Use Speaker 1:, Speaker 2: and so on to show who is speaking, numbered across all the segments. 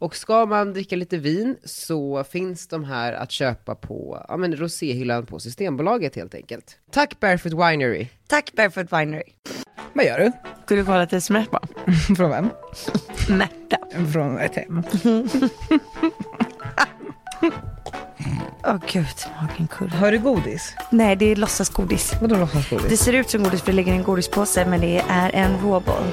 Speaker 1: Och ska man dricka lite vin så finns de här att köpa på ja, men roséhyllan på Systembolaget helt enkelt. Tack Barefoot Winery!
Speaker 2: Tack Barefoot Winery.
Speaker 1: Vad gör du?
Speaker 3: Ska du kolla ett sms bara?
Speaker 1: Från vem?
Speaker 2: Märta.
Speaker 1: Från ett hem.
Speaker 2: Åh gud, magen kurrar.
Speaker 1: Har du godis?
Speaker 2: Nej, det är låtsasgodis.
Speaker 1: Vadå låtsasgodis?
Speaker 2: Det ser ut som godis för det ligger i en godispåse men det är en råboll.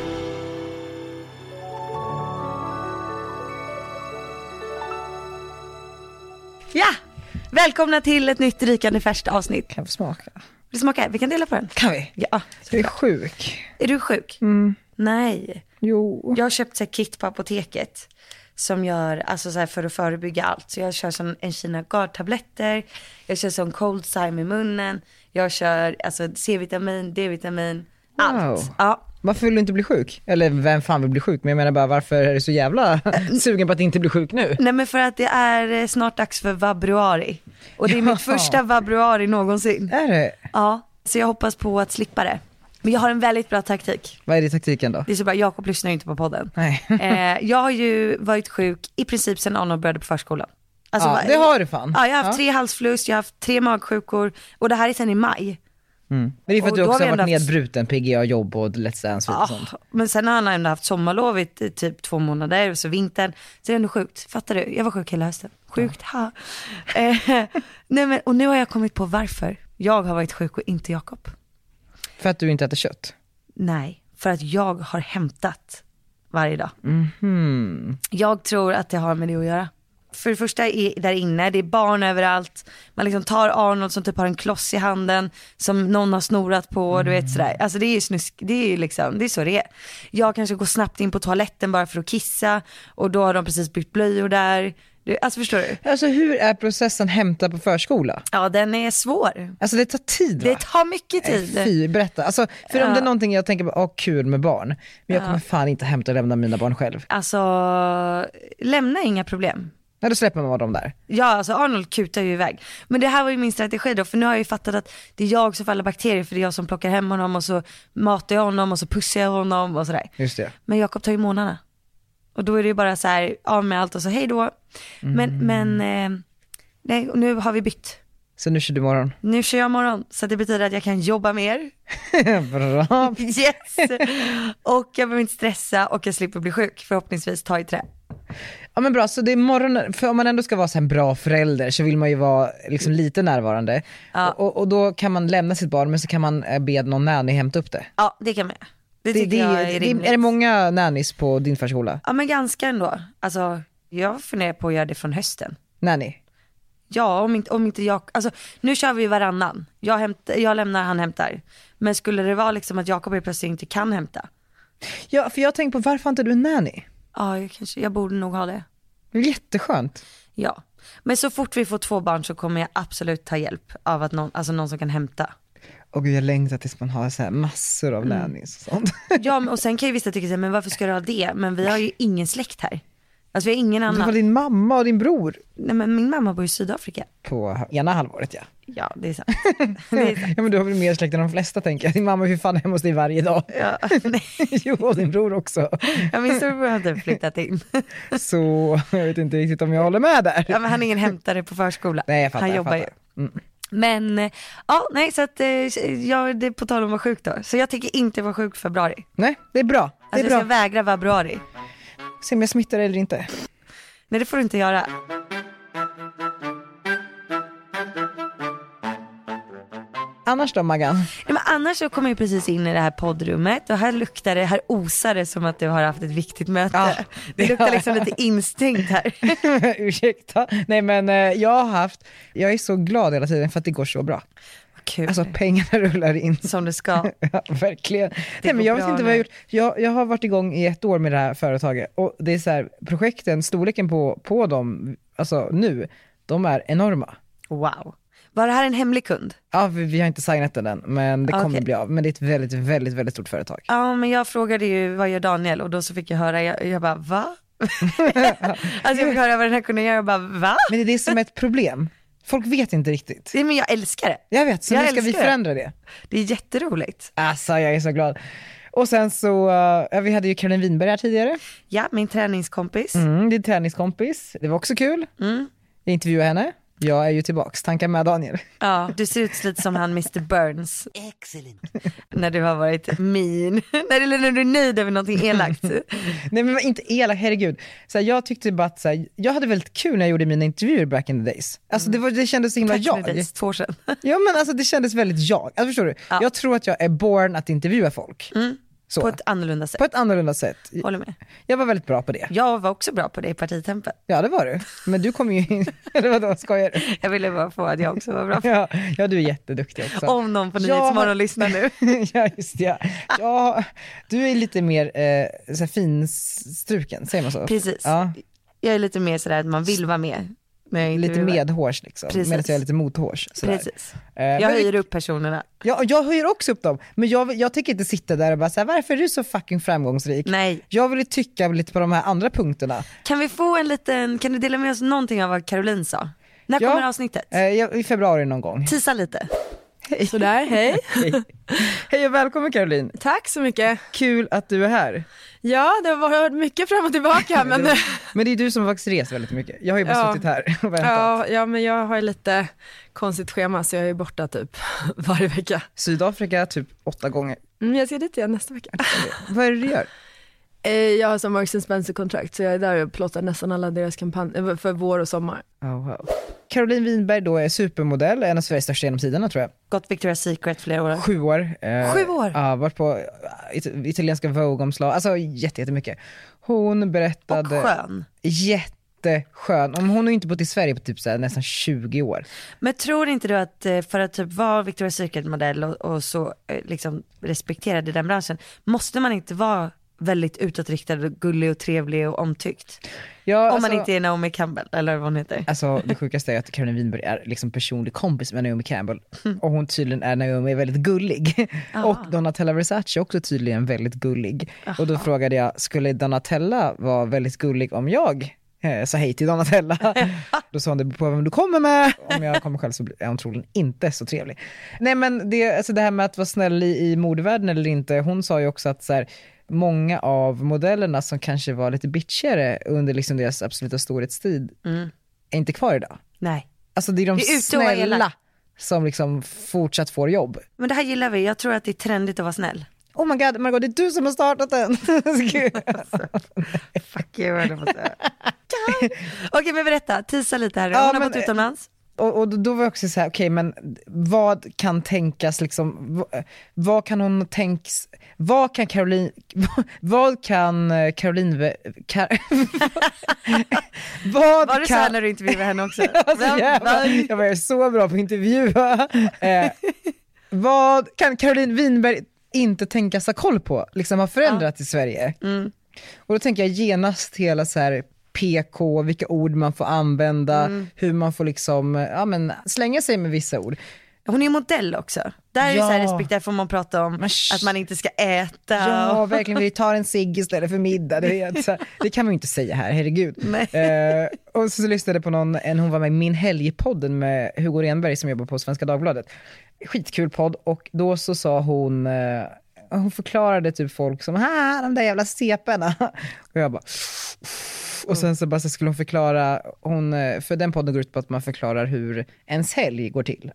Speaker 2: Ja! Välkomna till ett nytt rikande färskt avsnitt.
Speaker 3: Kan jag få smaka?
Speaker 2: Vill du smaka? Vi kan dela på den.
Speaker 3: Kan vi?
Speaker 2: Ja.
Speaker 3: Jag är sjuk.
Speaker 2: Är du sjuk? Nej.
Speaker 3: Jo.
Speaker 2: Jag har köpt så här kit på apoteket. Som gör, alltså så här för att förebygga allt. Så jag kör som en Kina Guard-tabletter. Jag kör som cold cyme i munnen. Jag kör alltså C-vitamin, D-vitamin. Allt.
Speaker 3: Wow.
Speaker 2: Ja.
Speaker 3: Varför vill du inte bli sjuk? Eller vem fan vill bli sjuk? Men jag menar bara varför är du så jävla sugen på att inte bli sjuk nu?
Speaker 2: Nej men för att det är eh, snart dags för vabruari. Och det är mitt första vabruari någonsin.
Speaker 3: Är det?
Speaker 2: Ja, så jag hoppas på att slippa det. Men jag har en väldigt bra taktik.
Speaker 3: Vad är det taktiken då?
Speaker 2: Det är så bara, Jakob lyssnar ju inte på podden.
Speaker 3: Nej.
Speaker 2: Eh, jag har ju varit sjuk i princip sedan Arnold började på förskolan. Alltså,
Speaker 3: Ja,
Speaker 2: va-
Speaker 3: det har du fan.
Speaker 2: Ja, jag har haft tre halsfluss, jag har haft tre magsjukor och det här är sedan i maj.
Speaker 3: Men det är för att
Speaker 2: och
Speaker 3: du
Speaker 2: då
Speaker 3: också
Speaker 2: har vi
Speaker 3: har varit
Speaker 2: ändå haft-
Speaker 3: nedbruten, PGA, jobb och Let's Dance och
Speaker 2: Ah,
Speaker 3: sånt.
Speaker 2: men sen har han ändå haft sommarlovet i typ två månader och så vintern. Så det är ändå sjukt, fattar du? Jag var sjuk hela hösten. Sjukt, ha. Eh, nej men, och nu har jag kommit på varför jag har varit sjuk och inte Jakob.
Speaker 3: För att du inte äter kött.
Speaker 2: Nej, för att jag har hämtat varje dag.
Speaker 3: Hmm.
Speaker 2: Jag tror att det har med det att göra. För det första är där inne, det är barn överallt. Man liksom tar Arnold som typ har en kloss i handen som någon har snorat på. Du vet sådär. Alltså det är ju snusk, det är ju liksom, det är så det är. Jag kanske går snabbt in på toaletten bara för att kissa och då har de precis bytt blöjor där. Du, alltså förstår du?
Speaker 3: Alltså hur är processen hämta på förskola?
Speaker 2: Ja den är svår.
Speaker 3: Alltså det tar tid va?
Speaker 2: Det tar mycket tid.
Speaker 3: Nej, Fy, berätta. Alltså, för om det är någonting jag tänker på, åh kul med barn, men jag kommer fan inte hämta och lämna mina barn själv.
Speaker 2: Alltså, lämna inga problem.
Speaker 3: Nej, då släpper man dem där.
Speaker 2: Ja, alltså Arnold kutar ju iväg. Men det här var ju min strategi då, för nu har jag ju fattat att det är jag som får alla bakterier, för det är jag som plockar hem honom och så matar jag honom och så pussar jag honom och sådär.
Speaker 3: Just det.
Speaker 2: Men Jakob tar ju månaderna. Och då är det ju bara så här, av med allt och så hej då. Men,
Speaker 3: Mm.
Speaker 2: men, eh, nej, och nu har vi bytt.
Speaker 3: Så nu kör du morgon.
Speaker 2: Nu kör jag morgon, så det betyder att jag kan jobba mer.
Speaker 3: Bra.
Speaker 2: Yes! och jag behöver inte stressa och jag slipper bli sjuk, förhoppningsvis ta i trä.
Speaker 3: Ja men bra, så det är morgonen, för om man ändå ska vara så här en bra förälder så vill man ju vara liksom lite närvarande. Och, och då kan man lämna sitt barn men så kan man eh, be någon nanny hämta upp det.
Speaker 2: Ja, det kan man göra. Det
Speaker 3: Det,
Speaker 2: tycker
Speaker 3: det,
Speaker 2: jag är
Speaker 3: är, det,
Speaker 2: rimligt.
Speaker 3: är det många nannies på din förskola?
Speaker 2: Ja men ganska ändå. Alltså jag funderar på att göra det från hösten.
Speaker 3: Nanny?
Speaker 2: Ja om inte, om inte jag, alltså nu kör vi varannan. Jag, hämt, jag lämnar, han hämtar. Men skulle det vara liksom att Jakob helt plötsligt inte kan hämta.
Speaker 3: Ja för jag tänker på varför har inte du en nanny?
Speaker 2: Ja jag kanske, jag borde nog ha det.
Speaker 3: Det är jätteskönt.
Speaker 2: Ja. Men så fort vi får två barn så kommer jag absolut ta hjälp av att någon, alltså någon som kan hämta.
Speaker 3: Och gud jag längtar tills man har så här massor av nannies och sånt.
Speaker 2: Ja men, och sen kan ju vissa tycka så här, men varför ska du ha det? Men vi har ju ingen släkt här. Alltså vi har ingen
Speaker 3: Du har
Speaker 2: annan.
Speaker 3: din mamma och din bror
Speaker 2: Nej men min mamma bor i Sydafrika.
Speaker 3: på ena halvåret ja.
Speaker 2: Ja det är sant. Det är sant.
Speaker 3: Ja men du har väl mer släkt än de flesta tänker jag. Din mamma är ju fan hemma hos dig varje dag.
Speaker 2: Ja, nej.
Speaker 3: Jo och din bror också.
Speaker 2: Ja, min storebror har typ flyttat in.
Speaker 3: Så jag vet inte riktigt om jag håller med där.
Speaker 2: Ja, men han är ingen hämtare på förskola.
Speaker 3: Nej, jag fattar,
Speaker 2: han
Speaker 3: jag
Speaker 2: jobbar
Speaker 3: fattar. Mm.
Speaker 2: ju. Men eh, ja, nej så att eh, jag, det är på tal om att vara sjuk då. Så jag tänker inte vara sjuk i februari.
Speaker 3: Nej, det är bra. Det
Speaker 2: Alltså
Speaker 3: är
Speaker 2: jag ska
Speaker 3: bra.
Speaker 2: vägra februari.
Speaker 3: Se om jag smittar eller inte.
Speaker 2: Nej det får du inte göra.
Speaker 3: Annars då Maggan?
Speaker 2: Nej, men annars så kom jag ju precis in i det här poddrummet och här luktar det, här osar det som att du har haft ett viktigt möte.
Speaker 3: Ja,
Speaker 2: det
Speaker 3: det
Speaker 2: luktar
Speaker 3: har
Speaker 2: liksom
Speaker 3: jag.
Speaker 2: lite instängt här.
Speaker 3: Ursäkta. Nej men eh, jag har haft, jag är så glad hela tiden för att det går så bra.
Speaker 2: kul.
Speaker 3: Alltså pengarna rullar in.
Speaker 2: som det ska.
Speaker 3: Ja, verkligen. Nej,
Speaker 2: går
Speaker 3: men jag vet
Speaker 2: bra
Speaker 3: inte vad jag
Speaker 2: nu.
Speaker 3: gjort. Jag, jag har varit igång i ett år med det här företaget och det är så här, projekten, storleken på, på dem, alltså nu, de är enorma.
Speaker 2: Wow. Var det här en hemlig kund?
Speaker 3: Ja, vi, vi har inte signat den än, men det kommer
Speaker 2: Okej.
Speaker 3: bli av. Men det är ett väldigt, väldigt, väldigt stort företag.
Speaker 2: Ja men jag frågade ju vad gör Daniel och då så fick jag höra, jag, jag bara va? alltså jag fick höra vad den här kunden gör, jag bara va?
Speaker 3: Men det är det som är ett problem. Folk vet inte riktigt.
Speaker 2: Nej men jag älskar det.
Speaker 3: Jag vet, så
Speaker 2: Jag
Speaker 3: nu ska vi
Speaker 2: älskar det.
Speaker 3: förändra det.
Speaker 2: Det är jätteroligt.
Speaker 3: Alltså jag är så glad. Och sen så, eh, ja, vi hade ju Caroline Winberg här tidigare.
Speaker 2: Ja, min träningskompis.
Speaker 3: Mm, din träningskompis. Det var också kul.
Speaker 2: Mm.
Speaker 3: Jag intervjuade henne. Jag är ju tillbaks, tankar med Daniel.
Speaker 2: Ja, du ser ut lite som han Mr Burns. När du har varit mean. när, eller när du är nöjd över någonting elakt.
Speaker 3: Nej men inte elak, herregud. Så här, jag tyckte bara att så här, jag hade väldigt kul när jag gjorde mina intervjuer back in the days. Alltså det, var, det kändes så himla
Speaker 2: Tack för
Speaker 3: jag.
Speaker 2: det, två år sedan.
Speaker 3: Ja men alltså det kändes väldigt jag. Alltså, förstår du? Jag tror att jag är born att intervjua folk. Så.
Speaker 2: Mm. På ett annorlunda sätt.
Speaker 3: på ett annorlunda sätt.
Speaker 2: Håller med.
Speaker 3: Jag var väldigt bra på det.
Speaker 2: Jag var också bra på det i partitempet.
Speaker 3: Ja det var du. Men du kom ju in, eller vadå skojar du?
Speaker 2: Jag ville bara få att jag också var bra på
Speaker 3: Ja, ja du är jätteduktig också.
Speaker 2: Om någon på
Speaker 3: Jag har-
Speaker 2: Nyhetsmorgon lyssnar nu.
Speaker 3: ja just det, ja. ja. Du är lite mer eh, så här finstruken, säger man så?
Speaker 2: Precis.
Speaker 3: Ja,
Speaker 2: Jag är lite mer sådär att man vill vara med. Men jag är inte
Speaker 3: lite
Speaker 2: vill vara-
Speaker 3: medhårs liksom,
Speaker 2: Precis.
Speaker 3: medan jag är lite mothårs. sådär.
Speaker 2: Precis.
Speaker 3: Eh,
Speaker 2: Jag
Speaker 3: men vi-
Speaker 2: höjer upp personerna.
Speaker 3: Ja, och jag höjer också upp dem, men jag, jag tänker inte sitta där och bara säga varför är du så fucking framgångsrik?
Speaker 2: Nej.
Speaker 3: Jag vill ju tycka lite på de här andra punkterna.
Speaker 2: Kan vi få en liten, kan du dela med oss någonting av vad Caroline sa? När
Speaker 3: Ja.
Speaker 2: kommer avsnittet?
Speaker 3: Eh, jag- I februari någon gång.
Speaker 2: Tisa lite.
Speaker 4: Sådär, hej.
Speaker 3: Hej och välkommen Caroline,
Speaker 4: Tack så mycket.
Speaker 3: kul att du är här.
Speaker 4: Ja, det har varit mycket fram och tillbaka men,
Speaker 3: Men det är du som har faktiskt rest väldigt mycket, jag har ju bara
Speaker 4: Ja.
Speaker 3: suttit här och väntat.
Speaker 4: ja, ja, men jag har ju lite konstigt schema så jag är borta typ varje vecka.
Speaker 3: Sydafrika typ åtta gånger.
Speaker 4: Mm, jag ska dit igen nästa vecka.
Speaker 3: Vad är det du gör?
Speaker 4: Eh, Jag har som Marks Spencer-kontrakt så jag är där och plåtar nästan alla deras kampanjer för vår och sommar.
Speaker 3: Oh, wow. Caroline Winberg då är supermodell, en av Sveriges största genom tiderna tror jag.
Speaker 2: Gått Victoria's Secret flera år.
Speaker 3: Sju år. eh,
Speaker 4: Sju år?
Speaker 3: Ja, varit på it- italienska Vogue-omslag, alltså jätte- jättemycket. Hon berättade...
Speaker 2: Och skön.
Speaker 3: jätteskön. Om hon har ju inte bott i Sverige på typ så här, nästan 20 år.
Speaker 2: Men tror inte du att eh, för att typ vara Victoria's Secret modell och, och så eh, liksom respekterad i den branschen, måste man inte vara väldigt utåtriktad och gullig och trevlig och omtyckt?
Speaker 3: Ja,
Speaker 2: Om
Speaker 3: alltså,
Speaker 2: man inte är Naomi Campbell eller vad hon heter.
Speaker 3: Alltså det sjukaste är att Caroline Winberg är liksom personlig kompis med Naomi Campbell och hon tydligen är Naomi är väldigt gullig. Och Donatella Versace är också tydligen väldigt gullig. Och då frågade jag, skulle Donatella vara väldigt gullig om jag eh, sa hej till Donatella? då sa hon, det beror på vem du kommer med. Om jag kommer själv så blir- är hon troligen inte så trevlig. Nej men det, alltså det här med att vara snäll i, i modevärlden eller inte, hon sa ju också att så här, många av modellerna som kanske var lite bitchigare under liksom deras absoluta storhetstid är inte kvar idag.
Speaker 2: Nej.
Speaker 3: Alltså det är de
Speaker 2: Det är ute och
Speaker 3: snälla
Speaker 2: elak.
Speaker 3: som liksom fortsatt får jobb.
Speaker 2: Men det här gillar vi, jag tror att det är trendigt att vara snäll.
Speaker 3: Oh my god, Margot det är du som har startat den. Gud.
Speaker 2: Fuck you höll jag på att säga. Okej men berätta, tisa lite här. Hon
Speaker 3: Ja,
Speaker 2: har
Speaker 3: men- eh,
Speaker 2: bott utomlands.
Speaker 3: och, och då var jag också så här, okej men vad kan tänkas liksom, vad, vad kan hon tänks, vad kan Caroline, vad kan eh, Caroline, Ve- Kar, vad
Speaker 2: Var det så här
Speaker 3: kan,
Speaker 2: när du intervjuade henne också?
Speaker 3: Alltså,
Speaker 2: Vem-
Speaker 3: jävlar,
Speaker 2: vem-
Speaker 3: jag bara, jag är så bra på att intervjua. Eh, vad kan Caroline Winberg inte tänkas ha koll på, liksom har förändrats i Sverige?
Speaker 2: Mm.
Speaker 3: Och då tänker jag genast hela så här PK, vilka ord man får använda,
Speaker 2: Mm.
Speaker 3: hur man får liksom, ja, men, slänga sig med vissa ord.
Speaker 2: Hon är modell också. Där är det så här
Speaker 3: Ja.
Speaker 2: respekt, där får man prata om
Speaker 3: Men sh-
Speaker 2: att man inte ska äta.
Speaker 3: Ja,
Speaker 2: och-
Speaker 3: verkligen. Vi tar en cigg istället för middag. Du vet. Så, här, det kan man ju inte säga här, herregud.
Speaker 2: Nej.
Speaker 3: Eh, och så, så lyssnade jag på någon, en, hon var med i Min helg-podden med Hugo Renberg som jobbar på Svenska Dagbladet. Skitkul podd och då så sa hon, eh, hon förklarade typ folk som, ha de där jävla CP'na. Och jag bara, och sen så bara så skulle hon förklara, hon, eh, för den podden går ut på att man förklarar hur ens helg går till.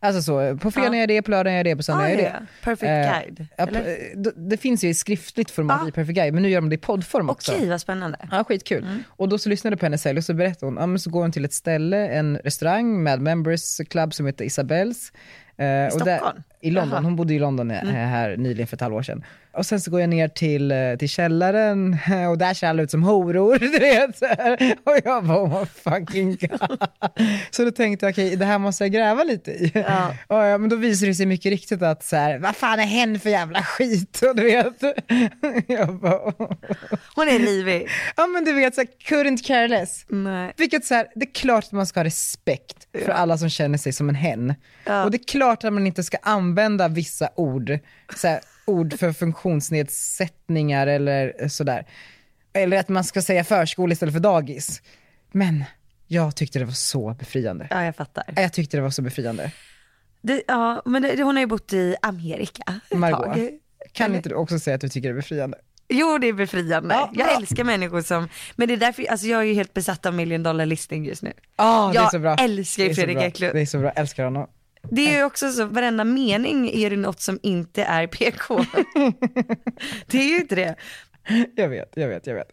Speaker 3: Alltså så, på fredag
Speaker 2: Ja.
Speaker 3: gör jag det, på lördag gör jag det, på söndag
Speaker 2: Ja,
Speaker 3: gör jag
Speaker 2: Ah, ja,
Speaker 3: det.
Speaker 2: ja. Perfect
Speaker 3: Eh,
Speaker 2: guide,
Speaker 3: ja,
Speaker 2: eller?
Speaker 3: p- det, det finns ju i skriftligt format
Speaker 2: Ja.
Speaker 3: i Perfect Guide, men nu gör de det i poddform också.
Speaker 2: Okej vad spännande.
Speaker 3: Ja, skitkul.
Speaker 2: Mm.
Speaker 3: Och då så lyssnade jag på hennes helg och så berättade hon, ja men så går hon till ett ställe, en restaurang med members club som heter Isabells. Eh, I
Speaker 2: Stockholm? Mm.
Speaker 3: I London, hon bodde i London eh, här nyligen för ett halvår sedan. Och sen så går jag ner till, eh, till källaren och där ser alla ut som horor, du vet. så här. Och jag bara, oh my fucking god. Så då tänkte jag, okej, det här måste jag gräva lite i.
Speaker 2: Ja.
Speaker 3: Och, ja, men då visar det sig mycket riktigt att så här, vad fan är hen för jävla skit? Och du vet. Jag bara, "Oh." "Åh."
Speaker 2: Hon är livig.
Speaker 3: ja men du vet, så här, couldn't care less.
Speaker 2: Nej.
Speaker 3: Vilket så här, det är klart att man ska ha respekt för alla som känner sig som en hen.
Speaker 2: Ja.
Speaker 3: Och det är klart att man inte ska använda vissa ord, så här, ord för funktionsnedsättningar eller sådär. Eller att man ska säga förskola istället för dagis. Men jag tyckte det var så befriande.
Speaker 2: Ja, jag fattar.
Speaker 3: Jag tyckte det var så befriande.
Speaker 2: Det, ja, men det, hon har ju bott i Amerika ett
Speaker 3: Margot,
Speaker 2: tag.
Speaker 3: kan inte du också säga att du tycker det är befriande?
Speaker 2: Jo, det är befriande.
Speaker 3: Ja,
Speaker 2: jag
Speaker 3: bra.
Speaker 2: älskar människor som, men det är därför, alltså jag är ju helt besatt av million dollar listing just nu.
Speaker 3: Ah, det är
Speaker 2: Jag
Speaker 3: så bra.
Speaker 2: älskar ju
Speaker 3: Det är så
Speaker 2: Fredrik
Speaker 3: bra.
Speaker 2: Eklund.
Speaker 3: Det är så bra, jag älskar honom.
Speaker 2: Det är ju också så, varenda mening är det något som inte är PK. det är ju inte det.
Speaker 3: Jag vet, jag vet, jag vet.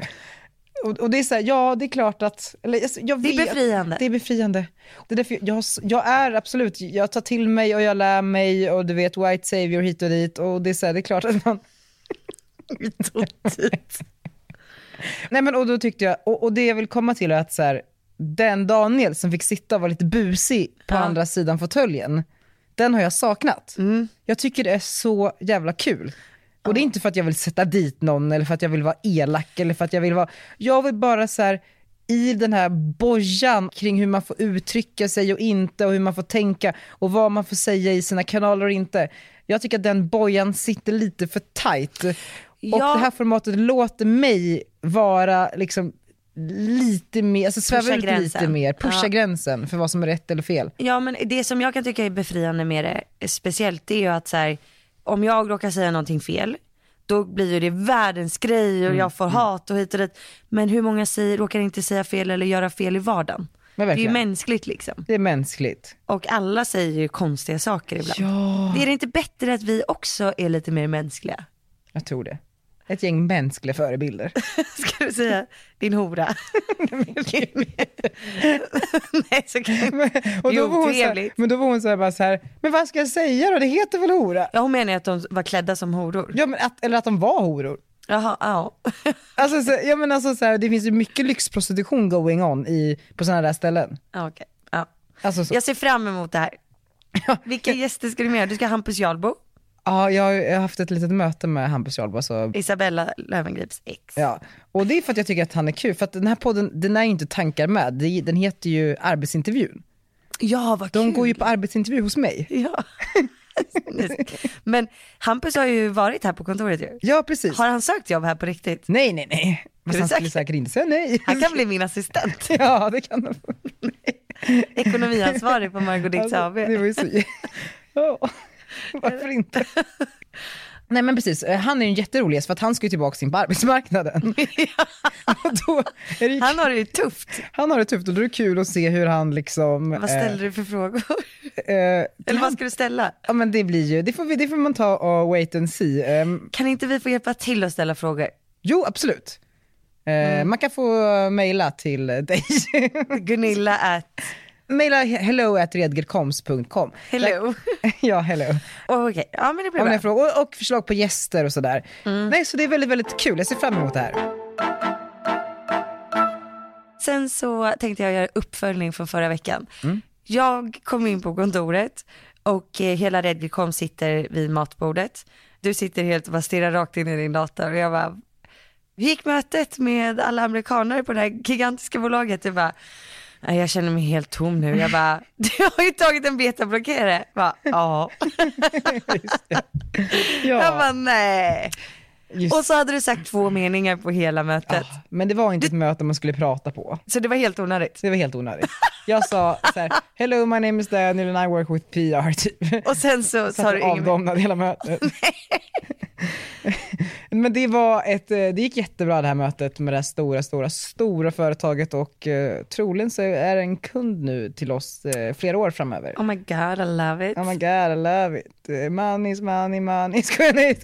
Speaker 3: Och, och det är så här, ja det är klart att, eller alltså, jag
Speaker 2: Det är
Speaker 3: vet,
Speaker 2: befriande.
Speaker 3: Det är befriande. Det är därför jag, jag, har s- jag är absolut, jag tar till mig och jag lär mig och du vet white savior hit och dit och det är så här, det är klart att man... hit och dit. Nej men och då tyckte jag, och, och det jag vill komma till är att så här, den Daniel som fick sitta och vara lite busig på
Speaker 2: Ja.
Speaker 3: andra sidan fåtöljen, den har jag saknat. Jag tycker det är så jävla kul. Och det är inte för att jag vill sätta dit någon eller för att jag vill vara elak eller för att jag vill vara, jag vill bara så här i den här bojan kring hur man får uttrycka sig och inte och hur man får tänka och vad man får säga i sina kanaler och inte. Jag tycker att den bojan sitter lite för tight. Och
Speaker 2: Ja.
Speaker 3: det här formatet låter mig vara liksom lite mer, alltså sväva
Speaker 2: Pusha
Speaker 3: ut lite
Speaker 2: gränsen.
Speaker 3: mer, pusha
Speaker 2: Ja.
Speaker 3: gränsen för vad som är rätt eller fel.
Speaker 2: Ja men det som jag kan tycka är befriande med det eh, speciellt det är ju att så här, om jag råkar säga någonting fel då blir ju det världens grej
Speaker 3: Mm,
Speaker 2: och jag får hat och hit och dit. Men hur många säger, råkar inte säga fel eller göra fel i vardagen? Det
Speaker 3: Men
Speaker 2: är ju
Speaker 3: verkligen.
Speaker 2: mänskligt liksom.
Speaker 3: Det är mänskligt.
Speaker 2: Och alla säger ju konstiga saker ibland. Är det inte bättre att vi också är lite mer mänskliga?
Speaker 3: Jag tror det. Ett gäng mänskliga förebilder.
Speaker 2: Ska du säga din hora? Nej så kan jag inte.
Speaker 3: Och
Speaker 2: Det är
Speaker 3: då var hon så här,
Speaker 2: otrevligt.
Speaker 3: men då var hon så här, bara så här, men vad ska jag säga då? Det heter väl hora?
Speaker 2: Ja hon menar ju att de var klädda som horor.
Speaker 3: Ja, men att, eller att de var horor.
Speaker 2: Jaha, ja.
Speaker 3: Alltså, så, ja, men alltså, så här, det finns ju mycket lyxprostitution going on i, på sådana där ställen.
Speaker 2: ja okej. Ja.
Speaker 3: Alltså, så,
Speaker 2: Jag ser fram emot det här. Vilka gäster ska du med? Du ska ha Hampus Jarlbo,
Speaker 3: ja, jag, har- jag har haft ett litet möte med Hampus Jarlbo. Alltså,
Speaker 2: Isabella Löwengrips ex.
Speaker 3: ja. Och det är för att jag tycker att han är kul. För att den här podden, den är ju inte tankar med. Det- Den heter ju arbetsintervjun.
Speaker 2: ja vad
Speaker 3: De
Speaker 2: kul.
Speaker 3: går ju på arbetsintervju hos mig.
Speaker 2: Ja. Men Hampus har ju varit här på kontoret ju.
Speaker 3: Ja, precis.
Speaker 2: Har han sökt jobb här på riktigt?
Speaker 3: Nej, nej, nej. Fast
Speaker 2: du
Speaker 3: han skulle
Speaker 2: säker?
Speaker 3: säkert inte säga nej.
Speaker 2: Han kan bli min assistent,
Speaker 3: Ja, det kan han.
Speaker 2: ekonomiansvarig på Margot Dietz
Speaker 3: Alltså,
Speaker 2: AB.
Speaker 3: det var ju så... Ja, varför inte? Nej men precis, Eh, han är ju en jätterolig gäst för att han ska ju tillbaka in på arbetsmarknaden. Och då är det ju,
Speaker 2: Han har det ju tufft.
Speaker 3: han har det tufft och då är det kul att se hur han liksom...
Speaker 2: Vad ställer du för frågor?
Speaker 3: eh, eh,
Speaker 2: Eller vad ska du ställa?
Speaker 3: Ja men det blir ju, det får, vi, det får man ta och wait and see. Eh,
Speaker 2: Kan inte vi få hjälpa till att ställa frågor?
Speaker 3: jo absolut. Eh,
Speaker 2: Mm.
Speaker 3: Man kan få mejla till dig.
Speaker 2: Gunilla at
Speaker 3: mejla hello at redgerkoms.com.
Speaker 2: hello.
Speaker 3: ja, hello.
Speaker 2: Okej, ja men det blir
Speaker 3: Om ni
Speaker 2: bra.
Speaker 3: har frågor och, och förslag på gäster och sådär. Nej, så det är väldigt, väldigt kul. Jag ser fram emot det här.
Speaker 2: Sen så tänkte jag göra uppföljning från förra veckan. Jag kom in på kontoret och eh, hela Redgercom sitter vid matbordet. Du sitter helt och bara stirrar rakt in i din dator och jag bara, hur gick mötet med alla amerikaner på det här gigantiska bolaget? Du bara, "Nej, jag känner mig helt tom nu. Jag bara, du har ju tagit en betablockerare. Jag bara, Ja. Jag bara, nej.
Speaker 3: Just.
Speaker 2: Och så hade du sagt två meningar på hela mötet.
Speaker 3: Ja, Men det var inte ett möte man skulle prata på.
Speaker 2: Så det var helt onödigt.
Speaker 3: Så det var helt onödigt. Jag sa så här, hello my name is Daniel and I work with PR typ.
Speaker 2: Och sen så
Speaker 3: Så
Speaker 2: sa
Speaker 3: att
Speaker 2: du
Speaker 3: jag
Speaker 2: inget mer.
Speaker 3: avdomnade hela mötet. Men det var ett, eh, det gick jättebra det här mötet med det här stora, stora, stora företaget och eh, troligen så är det en kund nu till oss eh, flera år framöver.
Speaker 2: Oh my god, I love it.
Speaker 3: Oh my god, I love it. Money is money, money is money.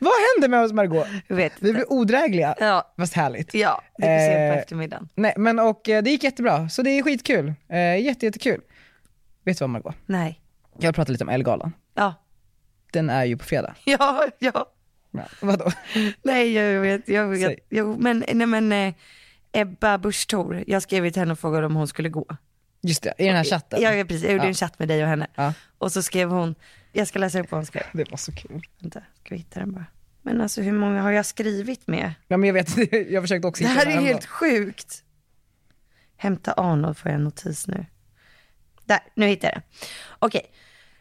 Speaker 3: Vad händer med oss Margot?
Speaker 2: Jag vet
Speaker 3: Vi
Speaker 2: inte.
Speaker 3: blir odrägliga,
Speaker 2: Ja.
Speaker 3: fast härligt.
Speaker 2: Ja, det blir sent på
Speaker 3: Eh,
Speaker 2: eftermiddagen.
Speaker 3: Nej, men och eh, det gick jättebra, så det är skitkul. Eh, jätte, jättekul. Vet du vad Margot?
Speaker 2: Nej.
Speaker 3: Jag vill prata lite om Ellegalan.
Speaker 2: Ja,
Speaker 3: Den är ju på fredag.
Speaker 2: ja, ja.
Speaker 3: Ja, vadå?
Speaker 2: Nej jag vet, jag vet.
Speaker 3: Säg.
Speaker 2: Jo, men, nej men eh, Ebba Busch Thor, jag skrev till henne och frågade om hon skulle gå.
Speaker 3: Just det, i den här chatten.
Speaker 2: Jag, jag, precis, jag gjorde en chatt med dig och henne.
Speaker 3: Ja.
Speaker 2: Och så skrev hon, jag ska läsa upp vad hon skrev.
Speaker 3: Det var så kul.
Speaker 2: Vänta, ska vi hitta den bara. Men alltså hur många har jag skrivit med?
Speaker 3: Ja, men jag vet, jag försökte också
Speaker 2: Det här
Speaker 3: den
Speaker 2: är helt
Speaker 3: häromdagen.
Speaker 2: sjukt. Hämta Arnold får jag en notis nu. Där, nu hittade jag den. Okej,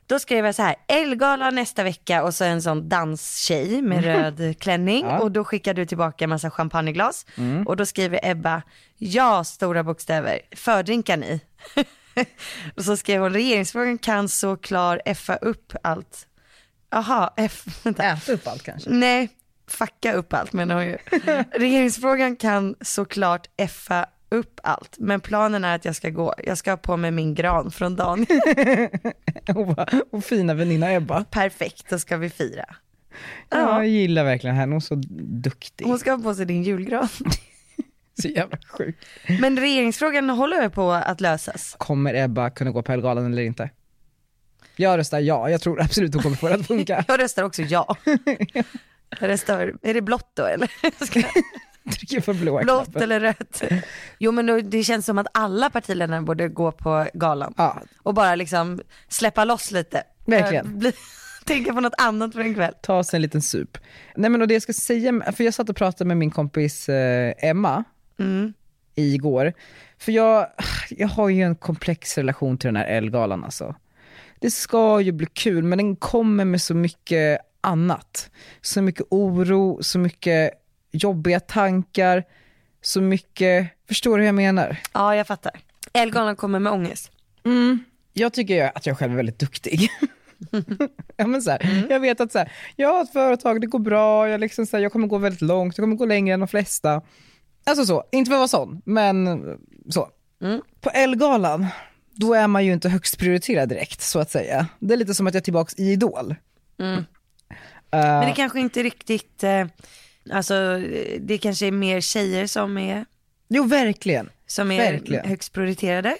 Speaker 2: då skrev jag så här. Elgala nästa vecka och så en sån danstjej med röd klänning. Och då skickar du tillbaka en massa champagneglas. Och då skriver Ebba, ja stora bokstäver, fördrinkar ni? och så skrev hon, regeringsfrågan kan såklart effa upp allt. Jaha, F, vänta.
Speaker 3: Äta upp allt kanske.
Speaker 2: Nej, fucka upp allt menar hon ju. Regeringsfrågan kan såklart effa upp allt, men planen är att jag ska gå. Jag ska ha på mig min gran från dagen.
Speaker 3: Och, bara, och fina väninna Ebba.
Speaker 2: Perfekt, då ska vi fira.
Speaker 3: Ja. Jag
Speaker 2: Ja,
Speaker 3: gillar verkligen henne, hon är så duktig.
Speaker 2: hon ska ha på sig din julgran.
Speaker 3: Så jävla sjuk.
Speaker 2: Men regeringsfrågan håller väl på att lösas?
Speaker 3: Kommer Ebba kunna gå på Ellegalan eller inte? Jag röstar ja, jag tror absolut hon kommer få det att funka.
Speaker 2: Jag röstar också ja. Jag röstar, är det blått då eller? Ska jag-
Speaker 3: Trycker för blåa
Speaker 2: Blått
Speaker 3: knappen.
Speaker 2: eller rött? Jo men då, det känns som att alla partiledarna borde gå på galan.
Speaker 3: Ja,
Speaker 2: och bara liksom släppa loss lite.
Speaker 3: Verkligen.
Speaker 2: Eh, Bli, tänka på något annat för en kväll.
Speaker 3: ta sig en liten sup. Nej men och det jag ska säga, för jag satt och pratade med min kompis eh, Emma Mm. igår. För jag, jag har ju en komplex relation till den här Ellegalan alltså. Det ska ju bli kul men den kommer med så mycket annat. Så mycket oro, så mycket jobbiga tankar, så mycket, förstår du hur jag menar?
Speaker 2: Ja, jag fattar. Elgalan kommer med ångest.
Speaker 3: jag tycker ju att jag själv är väldigt duktig. ja, men så här,
Speaker 2: Mm.
Speaker 3: Jag vet att så här, jag har ett företag, det går bra, jag, liksom så här, jag kommer gå väldigt långt, jag kommer gå längre än de flesta. Alltså så, inte för att vara sån, men så.
Speaker 2: Mm.
Speaker 3: På Ellegalan, då är man ju inte högst prioriterad direkt så att säga. Det är lite som att jag är tillbaka i Idol.
Speaker 2: Mm.
Speaker 3: Mm. Eh,
Speaker 2: Men det kanske inte riktigt, eh, alltså eh, det kanske är mer tjejer som är,
Speaker 3: Jo, verkligen.
Speaker 2: som är
Speaker 3: Verkligen.
Speaker 2: högst prioriterade.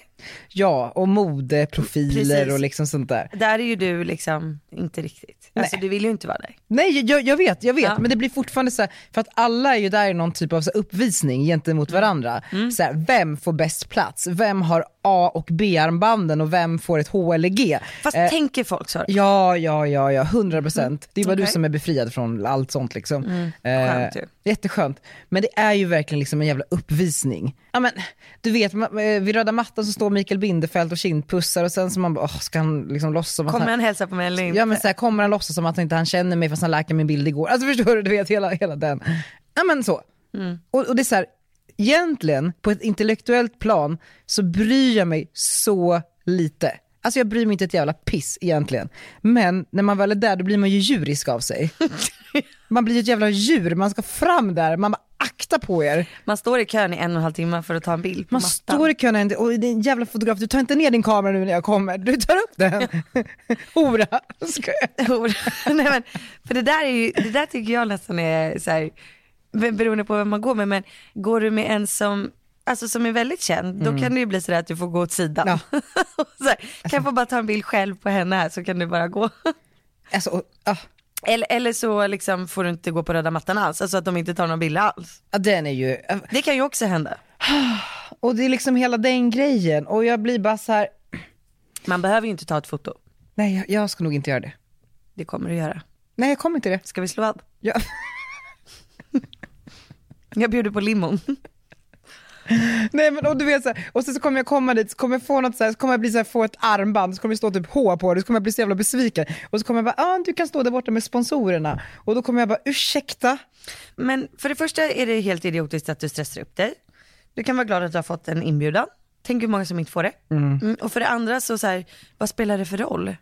Speaker 3: Ja, och modeprofiler
Speaker 2: Precis.
Speaker 3: och liksom sånt där.
Speaker 2: Där är ju du liksom inte riktigt, alltså
Speaker 3: Nej.
Speaker 2: du vill ju inte vara där.
Speaker 3: Nej, jag- jag, jag vet, jag vet.
Speaker 2: Ja.
Speaker 3: Men det blir fortfarande så här, för att alla är ju där i någon typ av så här, uppvisning gentemot
Speaker 2: Mm.
Speaker 3: varandra. Så här, vem får bäst plats? Vem har A och B-armbanden och vem får ett H eller G?
Speaker 2: Fast
Speaker 3: Eh,
Speaker 2: tänker folk så?
Speaker 3: Ja, ja, ja, ja, 100 procent. Det är bara du
Speaker 2: Mm, Okej. Mm,
Speaker 3: som är befriad från allt sånt liksom.
Speaker 2: skönt ju.
Speaker 3: jätteskönt. Men det är ju verkligen liksom en jävla uppvisning. Ja, men, du vet, ma- eh, vid röda mattan så står Mikael Bindefeld och kindpussar och sen så man bara, åh, ska han liksom låtsas som att
Speaker 2: Kommer
Speaker 3: han...
Speaker 2: han hälsa på mig eller inte?
Speaker 3: Ja men så här, kommer han låtsas som att han inte han känner mig fast han läkade min bild igår. Alltså förstår du, du vet hela, hela den. Ja men så. Och, och det är så här, egentligen på ett intellektuellt plan så bryr jag mig så lite. Alltså jag bryr mig inte ett jävla piss egentligen. Men när man väl är där då blir man ju djurisk av sig. Man blir ju ett jävla djur, man ska fram där, man bara akta på er.
Speaker 2: Man står i kön i en och en halv timme för att ta en bild på
Speaker 3: Man
Speaker 2: mattan.
Speaker 3: står i kön och din jävla fotograf, du tar inte ner din kamera nu när jag kommer, du tar upp den. Hora, ska jag.
Speaker 2: Hora. Nej, men, för det där, är ju, det där tycker jag nästan är så här, be- beroende på vem man går med, men går du med en som Alltså som är väldigt känd, då kan det ju bli sådär att du får gå åt sidan.
Speaker 3: Ja.
Speaker 2: Och så här, kan jag få bara ta en bild själv på henne här så kan du bara gå.
Speaker 3: Alltså, och, ah.
Speaker 2: Eller, eller så liksom får du inte gå på röda mattan alls, alltså att de inte tar någon bild alls.
Speaker 3: Ja, den är ju,
Speaker 2: Det kan ju också hända.
Speaker 3: och det är liksom hela den grejen och jag blir bara så här.
Speaker 2: Man behöver ju inte ta ett foto,
Speaker 3: nej jag, jag ska nog inte göra det.
Speaker 2: det kommer du göra.
Speaker 3: Nej jag kommer inte det.
Speaker 2: Ska vi slå vad?
Speaker 3: Jag,
Speaker 2: Jag bjuder på limon.
Speaker 3: nej men och du vet så här, och sen så kommer jag komma dit, så kommer jag få något så här, så kommer jag bli så här, få ett armband, så kommer det stå typ H på det, så kommer jag bli så jävla besviken. Och så kommer jag bara, ah, du kan stå där borta med sponsorerna. Och då kommer jag bara, ursäkta?
Speaker 2: Men för det första är det helt idiotiskt att du stressar upp dig. Du kan vara glad att du har fått en inbjudan. Tänk hur många som inte får det. Mm, och för det andra så, så här, vad spelar det för roll?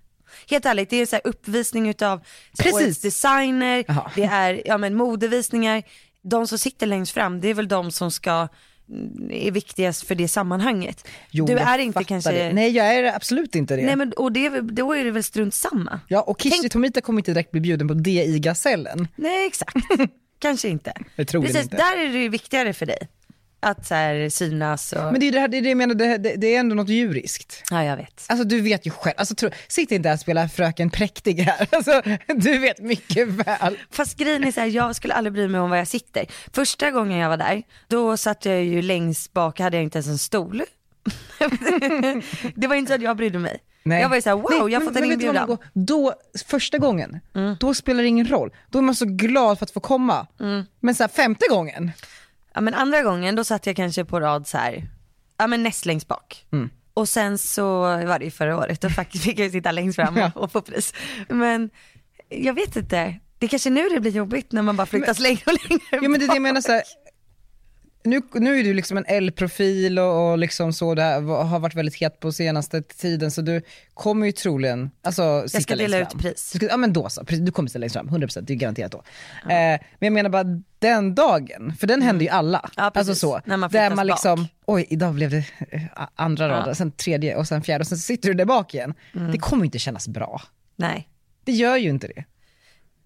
Speaker 2: Helt ärligt, det är så här uppvisning utav så här,
Speaker 3: Precis.
Speaker 2: årets designer,
Speaker 3: Jaha.
Speaker 2: det är ja, men modevisningar. De som sitter längst fram, det är väl de som ska mm, är viktigast för det sammanhanget.
Speaker 3: Jo,
Speaker 2: du
Speaker 3: jag
Speaker 2: är inte
Speaker 3: fattar
Speaker 2: kanske...
Speaker 3: Det. Nej jag är absolut inte det.
Speaker 2: Nej, men, och det, är väl- då är det väl strunt samma.
Speaker 3: Ja och Kishti Tomita kommer inte direkt bli bjuden på det i Gasellen.
Speaker 2: Nej exakt, kanske inte.
Speaker 3: Jag tror det
Speaker 2: Precis,
Speaker 3: inte.
Speaker 2: där är det ju viktigare för dig. att så här, synas och...
Speaker 3: Men det är ju det här, det, är det jag menar, det, det, det är ändå något djuriskt.
Speaker 2: Ja, jag vet.
Speaker 3: Alltså du vet ju själv, alltså, tro, sitt inte här och spela fröken präktig här. Alltså, du vet mycket väl.
Speaker 2: Fast grejen är så här, jag skulle aldrig bry mig om var jag sitter. Första gången jag var där, då satt jag ju längst bak, hade jag inte ens en stol. det var inte så att jag brydde mig.
Speaker 3: Nej.
Speaker 2: Jag var ju såhär, wow, jag har fått
Speaker 3: vet
Speaker 2: en
Speaker 3: du vad,
Speaker 2: inbjudan.
Speaker 3: Margot? Då, första gången, då spelar det ingen roll. Då är man så glad för att få komma. Men så här, femte gången,
Speaker 2: Ja, men andra gången då satt jag kanske på rad så här, ja men näst längst bak.
Speaker 3: Mm.
Speaker 2: Och sen så var det ju förra året, då faktiskt fick jag ju sitta längst fram och, och få pris. Men jag vet inte, det är kanske nu det blir jobbigt när man bara flyttas längre och längre
Speaker 3: Ja men det är det jag menar
Speaker 2: bak.
Speaker 3: så här, nu, nu är du liksom en L-profil och, och liksom så, det här, var- har varit väldigt het på senaste tiden så du kommer ju troligen, alltså sitta
Speaker 2: ska dela
Speaker 3: längst fram.
Speaker 2: ut pris.
Speaker 3: Du ska, ja men då så, precis, du kommer sitta längst fram, 100% det är garanterat då. Eh, men jag menar bara den dagen, för den händer ju alla.
Speaker 2: Mm. Ja, precis.
Speaker 3: alltså så,
Speaker 2: När man
Speaker 3: där
Speaker 2: flyttas
Speaker 3: man
Speaker 2: bak.
Speaker 3: liksom, oj idag blev det eh, andra raden, sen tredje och sen fjärde och sen sitter du där bak igen.
Speaker 2: Mm.
Speaker 3: Det kommer ju inte kännas bra.
Speaker 2: Nej,
Speaker 3: Det gör ju inte det.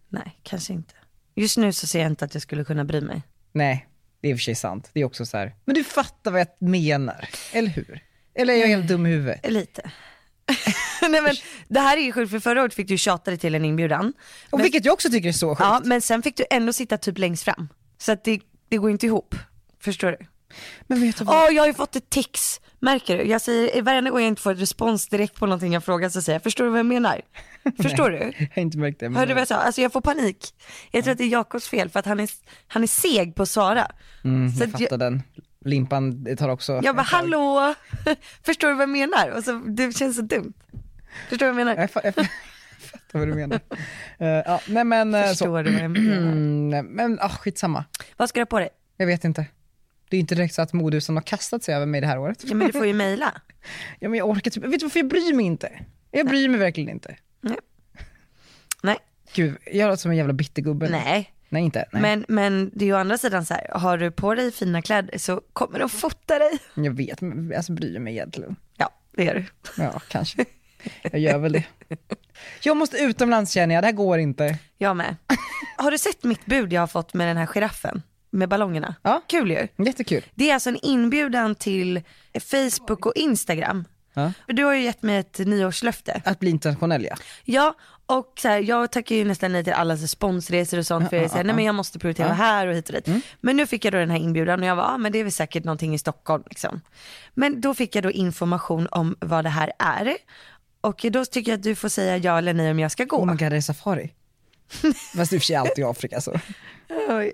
Speaker 2: nej kanske inte. Just nu så ser jag inte att jag skulle kunna bry mig.
Speaker 3: Nej, det är i och för sig sant. Det är också så här. Men du fattar vad jag menar, eller hur? Eller är jag helt dum i huvudet?
Speaker 2: Lite. nej men det här är ju sjukt för förra året fick du tjata dig till en inbjudan.
Speaker 3: Och
Speaker 2: Men-
Speaker 3: vilket jag också tycker är så sjukt.
Speaker 2: Ja men sen fick du ändå sitta typ längst fram. Så att det, det går inte ihop. Förstår du?
Speaker 3: Men vet du vad?
Speaker 2: Åh, jag har ju fått ett tics. Märker du? Jag säger, varenda gång jag inte får ett respons direkt på någonting jag frågar så säger jag, förstår du vad jag menar? Förstår du?
Speaker 3: Jag har inte märkt det. men-
Speaker 2: Hörde du vad jag sa? Alltså jag får panik. Jag tror att det är Jakobs fel för att han är, han är seg på att svara. så
Speaker 3: Mm, jag
Speaker 2: att
Speaker 3: fattar
Speaker 2: jag,
Speaker 3: den. Limpan det tar också...
Speaker 2: jag bara, hallå, förstår du vad jag menar? Och så, det känns så dumt. Förstår du vad jag menar?
Speaker 3: Jag, fa- jag fa- fattar vad du menar. Eh, ja, nej men eh, så.
Speaker 2: Förstår du vad jag menar?
Speaker 3: Mm, nej, men ah, skitsamma.
Speaker 2: Vad ska du ha på dig?
Speaker 3: Jag vet inte. Det är inte direkt så att modehusen har kastat sig över mig det här året.
Speaker 2: Ja men du får ju mejla.
Speaker 3: Ja, men jag orkar typ, vet du varför jag bryr mig inte? Jag bryr mig verkligen inte.
Speaker 2: Nej.
Speaker 3: Gud, jag låter som en jävla bittergubbe.
Speaker 2: Nej.
Speaker 3: Nej inte. Nej.
Speaker 2: Men, men det är ju å andra sidan så här, har du på dig fina kläder så kommer de fota dig.
Speaker 3: Jag vet, men alltså bryr mig egentligen.
Speaker 2: Ja, det gör du.
Speaker 3: Ja, kanske. Jag gör väl det. Jag måste utomlands känner jag, det här går inte.
Speaker 2: Jag med. Har du sett mitt bud jag har fått med den här giraffen? Med ballongerna?
Speaker 3: Ja.
Speaker 2: Kul ju.
Speaker 3: Jättekul.
Speaker 2: Det är alltså en inbjudan till Facebook och Instagram.
Speaker 3: Ja.
Speaker 2: För Du har ju gett mig ett nyårslöfte.
Speaker 3: Att bli internationell ja.
Speaker 2: Ja, och så här, jag tackar ju nästan nej till alla så här sponsresor och sånt för jag är så här, nej men jag måste prioritera här och hit och dit.
Speaker 3: Mm.
Speaker 2: Men nu fick jag då den här inbjudan och jag var, ah, men det är väl säkert någonting i Stockholm liksom. Men då fick jag då information om vad det här är. Och då tycker jag att du får säga ja eller nej om jag ska gå.
Speaker 3: Oh my god, det är safari. Fast i och för sig alltid i Afrika så.
Speaker 2: Oj.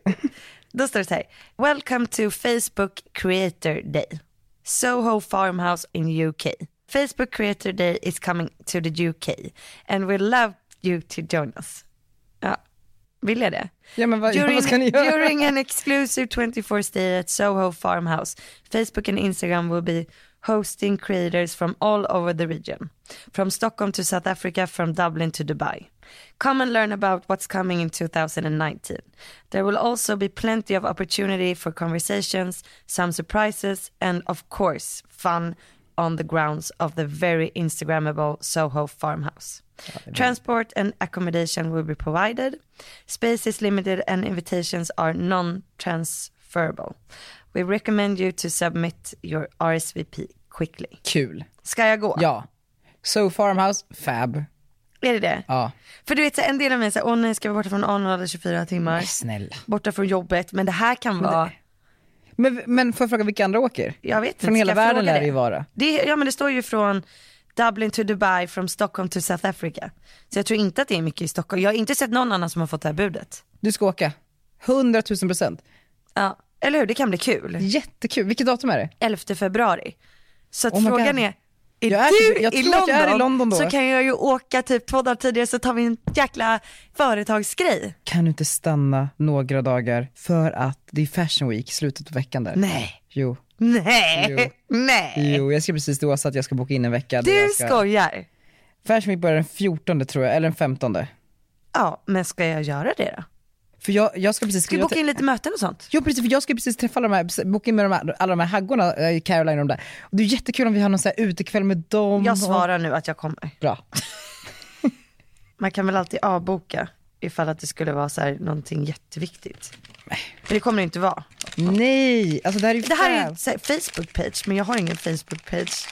Speaker 2: Då står det så här. Welcome to Facebook Creator Day. Soho Farmhouse in UK. Facebook Creator Day is coming to the UK and we love you to join us. Ja, vill jag det?
Speaker 3: Ja men vad,
Speaker 2: During,
Speaker 3: vad ska ni göra?
Speaker 2: during an exclusive 24 stay at Soho Farmhouse, Facebook and Instagram will be hosting creators from all over the region. From Stockholm to South Africa, from Dublin to Dubai. Come and learn about what's coming in 2019. There will also be plenty of opportunity for conversations, some surprises, and of course, fun on the grounds of the very Instagrammable Soho farmhouse. Transport and accommodation will be provided. Space is limited and invitations are non transferable. We recommend you to submit your RSVP quickly.
Speaker 3: Kul.
Speaker 2: Ska jag gå?
Speaker 3: Ja. So farmhouse, fab.
Speaker 2: Är det det?
Speaker 3: Ja.
Speaker 2: För du vet, så här, en del av mig säger, åh nej, ska vi borta från Arnold i 24 timmar?
Speaker 3: Snälla.
Speaker 2: Borta från jobbet, men det här kan vara,
Speaker 3: Men, men får jag fråga vilka andra åker?
Speaker 2: jag vet inte,
Speaker 3: Från
Speaker 2: ska
Speaker 3: hela
Speaker 2: jag fråga
Speaker 3: världen lär det ju vara.
Speaker 2: Det, ja men det står ju från Dublin to Dubai, from Stockholm to South Africa. Så jag tror inte att det är mycket i Stockholm. Jag har inte sett någon annan som har fått det här budet.
Speaker 3: Du ska åka. 100 000 procent.
Speaker 2: Ja, eller hur? Det kan bli kul.
Speaker 3: Jättekul. Vilket datum är det?
Speaker 2: 11 februari. Så att
Speaker 3: Oh my
Speaker 2: frågan
Speaker 3: God.
Speaker 2: är, är
Speaker 3: Jag är
Speaker 2: du
Speaker 3: typ- jag
Speaker 2: i,
Speaker 3: tror att
Speaker 2: London,
Speaker 3: jag är i London då.
Speaker 2: så kan jag ju åka typ två dagar tidigare så tar vi en jäkla företagsgrej.
Speaker 3: Kan du inte stanna några dagar för att det är fashion week, slutet på veckan där?
Speaker 2: Nej,
Speaker 3: Jo.
Speaker 2: nej, nej.
Speaker 3: Jo, jag skrev precis till Åsa att jag ska boka in en vecka. där
Speaker 2: Du
Speaker 3: jag ska...
Speaker 2: skojar.
Speaker 3: Fashion Week börjar den 14 tror jag, eller den 15.
Speaker 2: Ja, men ska jag göra det då?
Speaker 3: För jag, jag ska precis...
Speaker 2: Ska vi
Speaker 3: jag,
Speaker 2: boka in lite möten och sånt?
Speaker 3: Jo precis, för jag ska precis träffa alla de här, boka in med de här, alla de här haggorna, eh, Caroline och de där. Och det är jättekul om vi har någon så här utekväll med dem.
Speaker 2: Jag svarar nu att jag kommer.
Speaker 3: Och... Bra.
Speaker 2: Man kan väl alltid avboka ifall att det skulle vara så här någonting jätteviktigt. Men det kommer det inte vara.
Speaker 3: Nej, alltså det här är ju
Speaker 2: Det här är ju
Speaker 3: fans.
Speaker 2: så här Facebook-page, men jag har ingen Facebook-page.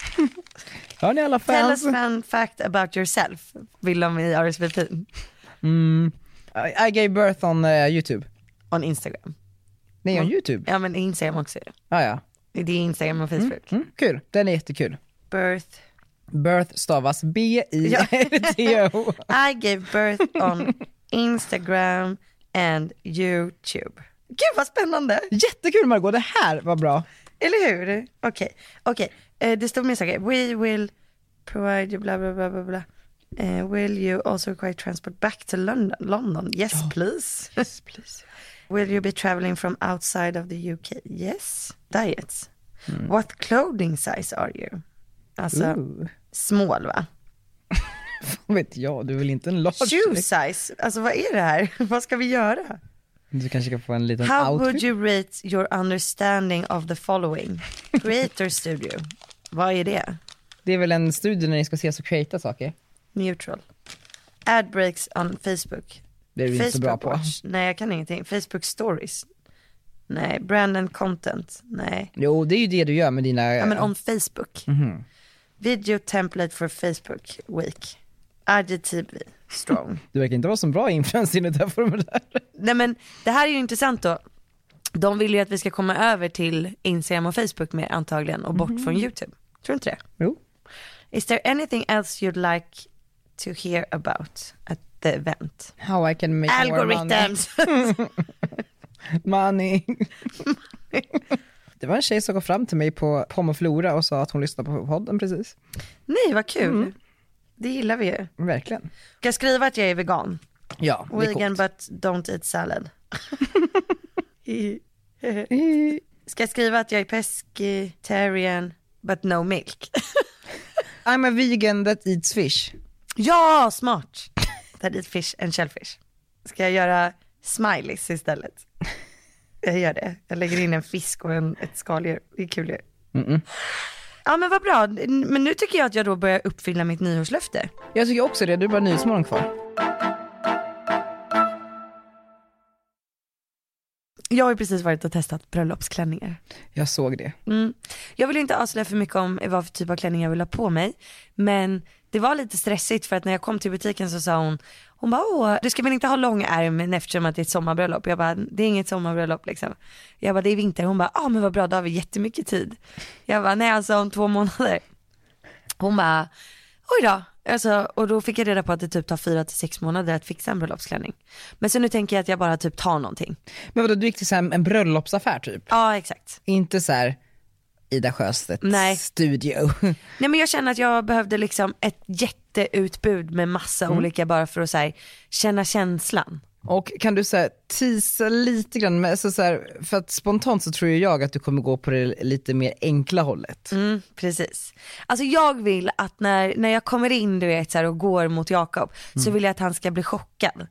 Speaker 3: Har ni alla
Speaker 2: Tell us
Speaker 3: fans?
Speaker 2: fun fact about yourself, vill de i RSVP.
Speaker 3: Mm. I, I gave birth on eh, youtube.
Speaker 2: On Instagram.
Speaker 3: Nej,
Speaker 2: Mm.
Speaker 3: on youtube?
Speaker 2: Ja men Instagram också är det.
Speaker 3: Ah, ja,
Speaker 2: Det är Instagram och Facebook.
Speaker 3: mm, kul. Den är jättekul.
Speaker 2: Birth.
Speaker 3: Birth stavas B-I-R-T-O.
Speaker 2: I gave birth on Instagram and YouTube. Gud vad spännande!
Speaker 3: Jättekul Margot, det här var bra.
Speaker 2: Eller hur? Okej, okej. Eh, det står mer saker. We will provide you bla bla bla bla bla. Eh, will you also require transport back to London? London? Yes, please. yes please. Will you be traveling from outside of the UK? Yes. Diets. What clothing size are you? Alltså, small va?
Speaker 3: Vad vet jag, du är väl inte en large?
Speaker 2: Shoe size, alltså vad är det här? vad ska vi göra?
Speaker 3: Du kanske kan få en liten
Speaker 2: How
Speaker 3: outfit.
Speaker 2: would you rate your understanding of the following? Creator studio, vad är det?
Speaker 3: Det är väl en studie när ni ska ses och creata saker.
Speaker 2: Neutral. Ad breaks on Facebook.
Speaker 3: Det är du inte så bra på.
Speaker 2: Watch. Nej jag kan ingenting. Facebook stories. Nej, brand and content. Nej.
Speaker 3: Jo, det är ju det du gör med dina...
Speaker 2: Ja men om Facebook.
Speaker 3: Mm-hmm.
Speaker 2: Video template for Facebook week. IGTV strong.
Speaker 3: Du verkar inte vara så bra influencer i det här formuläret.
Speaker 2: Nej men det här är ju intressant då. De vill ju att vi ska komma över till Instagram och Facebook mer antagligen och bort
Speaker 3: Mm-hmm.
Speaker 2: från YouTube. Tror du inte det?
Speaker 3: Jo.
Speaker 2: Is there anything else you'd like to hear about at the event?
Speaker 3: How I can make more
Speaker 2: Algorithms!
Speaker 3: money. money. det var en tjej som kom fram till mig på Pomoflora och sa att hon lyssnade på podden precis.
Speaker 2: Nej vad kul.
Speaker 3: Mm.
Speaker 2: Det gillar vi ju.
Speaker 3: Verkligen.
Speaker 2: Ska jag skriva att jag är vegan?
Speaker 3: Ja, det är
Speaker 2: Vegan
Speaker 3: coolt.
Speaker 2: but don't eat salad. Ska jag skriva att jag är pescetarian but no milk?
Speaker 3: I'm a vegan that eats fish.
Speaker 2: ja, smart! That eat fish and shellfish. Ska jag göra smileys istället? Jag gör det. Jag lägger in en fisk och en, ett skaldjur. Det är kul ju. Ja men vad bra. Men nu tycker jag att jag då börjar uppfylla mitt nyårslöfte.
Speaker 3: Jag tycker också det, du är bara Nyhetsmorgon kvar.
Speaker 2: Jag har ju precis varit och testat bröllopsklänningar.
Speaker 3: Jag såg det.
Speaker 2: Mm. Jag vill inte avslöja för mycket om vad för typ av klänning jag vill ha på mig. Men det var lite stressigt för att när jag kom till butiken så sa hon, hon bara åh, du ska väl inte ha lång ärm eftersom att det är ett sommarbröllop? Jag bara, det är inget sommarbröllop liksom. Jag bara, det är vinter. Hon bara, ja ah, men vad bra, då har vi jättemycket tid. Jag bara, nej alltså om två månader. Hon bara, oj då. Alltså, och då fick jag reda på att det typ tar fyra till sex månader att fixa en bröllopsklänning. Men så nu tänker jag att jag bara typ tar någonting.
Speaker 3: Men vadå, du gick till så här en bröllopsaffär typ?
Speaker 2: Ja exakt.
Speaker 3: Inte så här Ida Sjöstedts
Speaker 2: Nej.
Speaker 3: studio.
Speaker 2: Nej men jag känner att jag behövde liksom ett jätteutbud med massa
Speaker 3: Mm.
Speaker 2: olika bara för att så här, känna känslan.
Speaker 3: Och kan du så här, tisa lite grann, med, så så här, för att spontant så tror ju jag att du kommer gå på det lite mer enkla hållet.
Speaker 2: Mm, precis. Alltså jag vill att när, när jag kommer in du vet, så här, och går mot Jakob så
Speaker 3: Mm.
Speaker 2: vill jag att han ska bli chockad.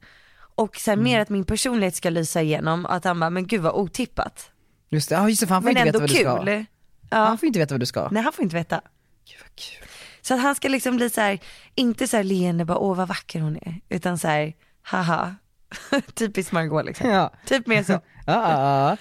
Speaker 2: Och sen mer att min personlighet ska lysa igenom att han bara, men gud vad otippat.
Speaker 3: Just det, ah, just det för han får
Speaker 2: Men
Speaker 3: inte veta
Speaker 2: ändå
Speaker 3: vad du ska.
Speaker 2: kul. Ja.
Speaker 3: Han får inte veta vad du ska.
Speaker 2: Nej han får inte veta.
Speaker 3: Gud, vad kul.
Speaker 2: Så att han ska liksom bli så här, inte så här leende bara åh vad vacker hon är, utan så här haha. Typiskt Margot liksom.
Speaker 3: Ja.
Speaker 2: Typ mer så.
Speaker 3: Ja, ja, ja.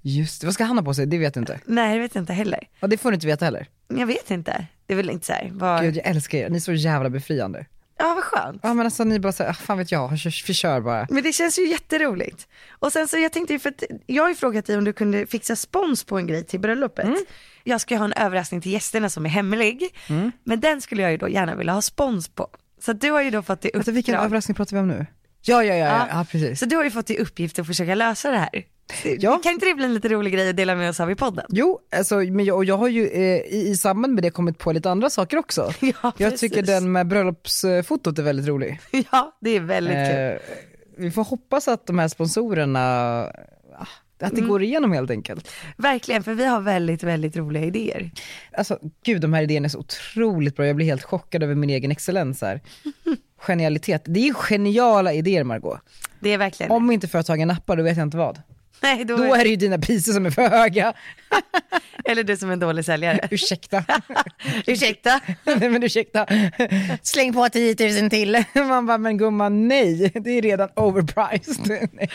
Speaker 3: just det, vad ska han ha på sig? Det vet du inte.
Speaker 2: Nej det vet jag inte heller.
Speaker 3: Och det får du inte veta heller.
Speaker 2: Jag vet inte. Det är väl inte så här. Var...
Speaker 3: Gud jag älskar er, ni är så jävla befriande.
Speaker 2: Ja vad skönt.
Speaker 3: Ja men alltså ni bara såhär, ah, fan vet jag, kör- förkör bara.
Speaker 2: Men det känns ju jätteroligt. Och sen så jag tänkte ju för att jag har ju frågat dig om du kunde fixa spons på en grej till bröllopet.
Speaker 3: Mm.
Speaker 2: Jag ska ju ha en överraskning till gästerna som är hemlig.
Speaker 3: Mm.
Speaker 2: Men den skulle jag ju då gärna vilja ha spons på. Så att du har ju då fått i
Speaker 3: Vänta, Alltså, vilken
Speaker 2: uppdrag.
Speaker 3: överraskning pratar vi om nu? Ja, ja, ja, ja. ja precis.
Speaker 2: Så du har ju fått i uppgift att försöka lösa det här.
Speaker 3: Ja.
Speaker 2: Kan inte det bli en lite rolig grej att dela med oss av i podden?
Speaker 3: Jo, alltså, men jag, och jag har ju eh, i, i samband med det kommit på lite andra saker också.
Speaker 2: Ja,
Speaker 3: jag
Speaker 2: precis.
Speaker 3: tycker den med bröllopsfotot är väldigt rolig.
Speaker 2: Ja, det är väldigt kul.
Speaker 3: Eh, vi får hoppas att de här sponsorerna, ah, att det
Speaker 2: Mm.
Speaker 3: går igenom helt enkelt.
Speaker 2: Verkligen, för vi har väldigt, väldigt roliga idéer.
Speaker 3: Alltså gud, de här idéerna är så otroligt bra. Jag blir helt chockad över min egen excellens här. Genialitet. Det är ju geniala idéer Margot.
Speaker 2: Det är verkligen
Speaker 3: Om inte företagen nappar, då vet jag inte vad.
Speaker 2: Nej, då
Speaker 3: Då
Speaker 2: är...
Speaker 3: är det ju dina priser som är för höga.
Speaker 2: Eller du som är en dålig säljare.
Speaker 3: Ursäkta.
Speaker 2: Ursäkta.
Speaker 3: nej men ursäkta. Släng på 10 000 till. Man bara, men gumman nej, det är redan overpriced. nej.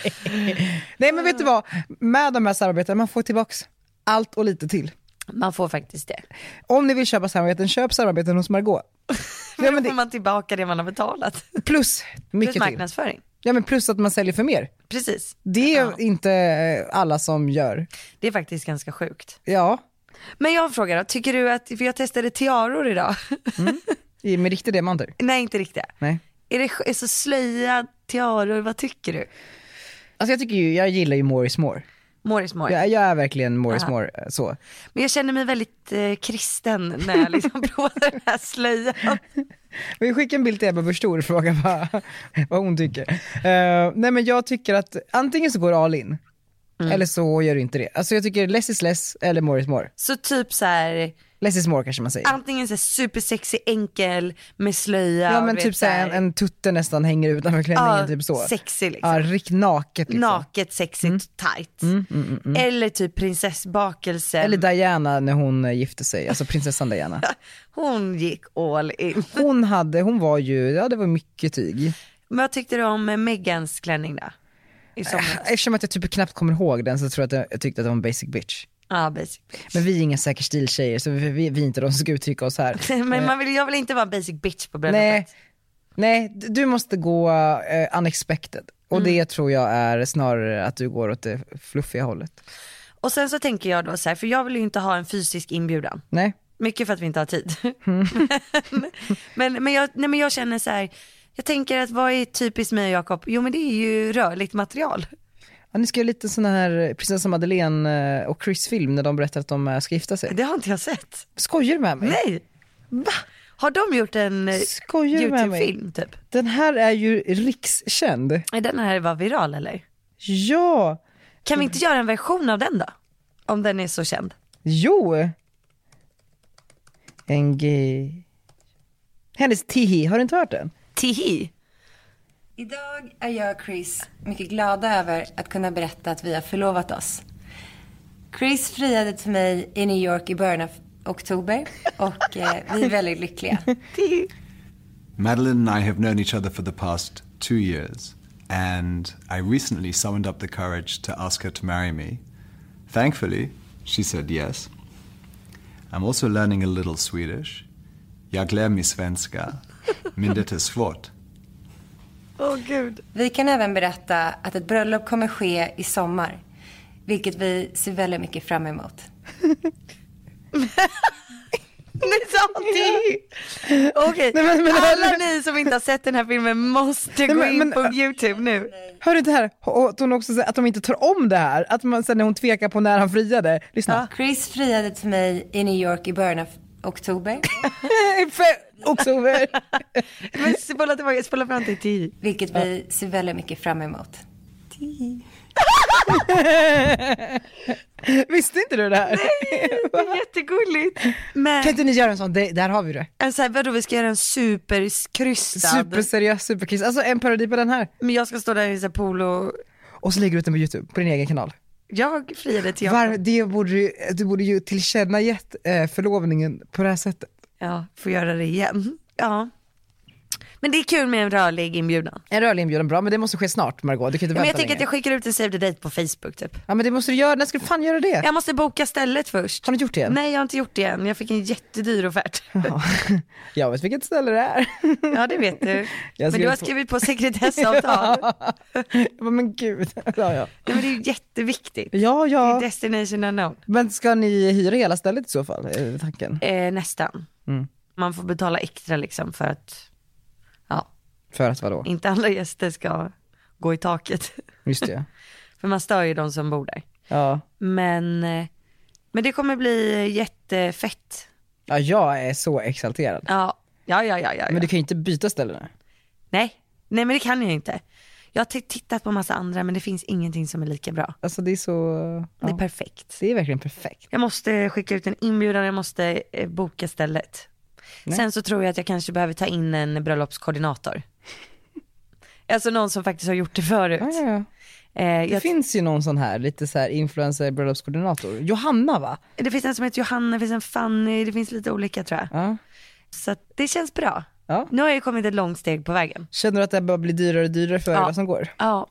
Speaker 3: nej men vet du vad, med de här samarbetena, man får tillbaks allt och lite till.
Speaker 2: Man får faktiskt det.
Speaker 3: Om ni vill köpa samarbeten, köp samarbeten hos Margot. Ja, men
Speaker 2: Då får
Speaker 3: det,
Speaker 2: man tillbaka det man har betalat.
Speaker 3: plus
Speaker 2: Plus
Speaker 3: mycket till.
Speaker 2: marknadsföring.
Speaker 3: Ja, men plus att man säljer för mer.
Speaker 2: Precis.
Speaker 3: Det är
Speaker 2: Ja.
Speaker 3: inte eh, alla som gör.
Speaker 2: Det är faktiskt ganska sjukt.
Speaker 3: Ja,
Speaker 2: Men jag frågar då, tycker du att, för jag testade tiaror idag.
Speaker 3: Mm. men riktigt diamanter.
Speaker 2: Nej inte riktigt.
Speaker 3: Nej.
Speaker 2: Är det är så slöja, tiaror, vad tycker du?
Speaker 3: Alltså jag tycker ju, jag gillar ju more is more.
Speaker 2: More is more.
Speaker 3: Jag, jag är verkligen more is more eh, så.
Speaker 2: Men jag känner mig väldigt eh, kristen när jag liksom provade den här slöjan.
Speaker 3: Vi skickar en bild till Ebba Busch Thor och frågar vad, vad hon tycker. Eh, nej men jag tycker att antingen så går du all in,
Speaker 2: Mm.
Speaker 3: eller så gör du inte det. Alltså jag tycker less is less eller more is more.
Speaker 2: Så typ så här,
Speaker 3: Less is more kanske man säger.
Speaker 2: antingen så här supersexig enkel med slöja.
Speaker 3: ja
Speaker 2: och
Speaker 3: men
Speaker 2: du
Speaker 3: typ
Speaker 2: vet
Speaker 3: så här, en, en tutte nästan hänger utanför klänningen, typ så.
Speaker 2: Sexig liksom.
Speaker 3: Ja, riktigt naket liksom. Mm,
Speaker 2: Naket, sexigt, tight. Eller typ prinsessbakelse.
Speaker 3: Eller Diana när hon eh, gifte sig, alltså prinsessan Diana.
Speaker 2: Hon gick all in.
Speaker 3: Hon hade, hon var ju, ja det var mycket tyg.
Speaker 2: Men vad tyckte du om eh, Megans klänning då? I somras?
Speaker 3: Eftersom att jag typ knappt kommer ihåg den så tror jag att jag, jag tyckte att det var en basic bitch.
Speaker 2: Ja, basic bitch.
Speaker 3: Men vi är inga säker stil-tjejer så vi, vi, vi är inte de som ska uttrycka oss här.
Speaker 2: Men man vill, jag vill inte vara en basic bitch på bröllopet.
Speaker 3: Nej, nej, d- du måste gå eh, unexpected. Och
Speaker 2: Mm.
Speaker 3: det tror jag är snarare att du går åt det fluffiga hållet.
Speaker 2: Och sen så tänker jag då så här, för jag vill ju inte ha en fysisk inbjudan.
Speaker 3: Nej,
Speaker 2: Mycket för att vi inte har tid.
Speaker 3: Mm.
Speaker 2: men, men, men, jag, nej, men jag känner så här, jag tänker att vad är typiskt mig och Jakob? Jo men det är ju rörligt material.
Speaker 3: ja, ni ska göra lite sån här prinsessa Madeleine eh, och Chris film när de berättar att de eh, ska gifta sig.
Speaker 2: Det har inte jag sett.
Speaker 3: Skojar du med mig?
Speaker 2: Nej. Va? Har de gjort en eh,
Speaker 3: Skojar du med mig?
Speaker 2: YouTube-film typ?
Speaker 3: Den här är ju rikskänd.
Speaker 2: Nej, Den här var viral eller?
Speaker 3: Ja,
Speaker 2: Kan vi inte
Speaker 3: Mm.
Speaker 2: göra en version av den då? Om den är så känd.
Speaker 3: jo. En gay. Hennes Tihi, har du inte hört den?
Speaker 2: Tihi.
Speaker 5: Idag är jag och Chris mycket glada över att kunna berätta att vi har förlovat oss. Chris friade till mig i New York i början av oktober och eh, vi är väldigt lyckliga.
Speaker 6: Madeline and I have known each other for the past two years, and I recently summoned up the courage to ask her to marry me. Thankfully, she said yes. I'm also learning a little Swedish. Jag lär mig svenska, men det är svårt.
Speaker 2: Åh gud.
Speaker 5: Vi kan även berätta att ett bröllop kommer ske i sommar, vilket vi ser väldigt mycket fram emot.
Speaker 2: Ni sa Tihi. Okej,
Speaker 3: Nej, men- men-
Speaker 2: alla ni som inte har sett den här filmen måste gå
Speaker 3: men-
Speaker 2: in
Speaker 3: men-
Speaker 2: på YouTube nu.
Speaker 3: Hör du det här? Och att hon också säger att de inte tar om det här. Att man sen när hon tvekar på när han friade. Lyssna.
Speaker 5: Chris friade till mig i New York i början av oktober,
Speaker 3: För oktober.
Speaker 2: Men spola tillbaka, spola fram till Tihi.
Speaker 5: vilket vi ser väldigt mycket fram emot.
Speaker 3: Visste inte du det här?
Speaker 2: Det är jättegulligt. Men,
Speaker 3: Kan inte ni göra en sån? Det, där har vi det.
Speaker 2: en så här, vadå vi ska göra en superkrystad.
Speaker 3: Superseriös superkiss. Alltså en parodi på den här.
Speaker 2: Men jag ska stå där i så här polo.
Speaker 3: Och så lägger du ut den på YouTube, på din egen kanal.
Speaker 2: Jag friade till Jakob.
Speaker 3: Var, det borde, du- du borde ju tillkännagett eh, förlovningen på det här sättet.
Speaker 2: Ja, får göra det igen. Ja. Men det är kul med en rörlig inbjudan.
Speaker 3: En rörlig inbjudan, bra, men det måste ske snart Margot. Du kan inte
Speaker 2: Men jag
Speaker 3: vänta
Speaker 2: tänker att
Speaker 3: länge.
Speaker 2: jag skickar ut en save the date på Facebook typ.
Speaker 3: Ja men det måste du göra, när ska du fan göra det?
Speaker 2: Jag måste boka stället först.
Speaker 3: Har du gjort det än?
Speaker 2: Nej jag har inte gjort det än, jag fick en jättedyr offert.
Speaker 3: Ja. Jag vet vilket ställe det är.
Speaker 2: Ja det vet du. Men
Speaker 3: skrev
Speaker 2: du har
Speaker 3: två-
Speaker 2: skrivit på sekretessavtal.
Speaker 3: Jag bara, men gud. Ja, ja.
Speaker 2: Nej, men det är ju jätteviktigt.
Speaker 3: ja,
Speaker 2: Det
Speaker 3: ja.
Speaker 2: är destination unknown.
Speaker 3: Men ska ni hyra hela stället i så fall? Är tanken.
Speaker 2: Eh, nästan. Man får betala extra liksom för att ja,
Speaker 3: För att vadå?
Speaker 2: inte alla gäster ska gå i taket.
Speaker 3: Just det.
Speaker 2: För man stör ju de som bor där.
Speaker 3: Ja.
Speaker 2: Men, eh, men det kommer bli jättefett.
Speaker 3: ja, jag är så exalterad.
Speaker 2: Ja, ja, ja, ja. ja, ja.
Speaker 3: Men du kan ju inte byta ställe nu.
Speaker 2: Nej. Nej, men det kan jag ju inte. Jag har t- tittat på massa andra men det finns ingenting som är lika bra.
Speaker 3: Alltså det är så,
Speaker 2: Det är
Speaker 3: ja.
Speaker 2: perfekt.
Speaker 3: det är verkligen perfekt.
Speaker 2: Jag måste skicka ut en inbjudan, jag måste eh, boka stället. Sen så tror jag att jag kanske behöver ta in en bröllopskoordinator. alltså någon som faktiskt har gjort det förut.
Speaker 3: Ja, ja, ja.
Speaker 2: Eh,
Speaker 3: Det
Speaker 2: jag,
Speaker 3: finns ju någon sån här, lite så här influencer bröllopskoordinator. Johanna va?
Speaker 2: det finns en som heter Johanna, det finns en Fanny, det finns lite olika tror jag.
Speaker 3: Ja.
Speaker 2: Så att det känns bra.
Speaker 3: Ja.
Speaker 2: Nu har jag ju kommit ett långt steg på vägen.
Speaker 3: Känner du att det här bara blir dyrare och dyrare för varje
Speaker 2: Ja.
Speaker 3: dag som går?
Speaker 2: Ja,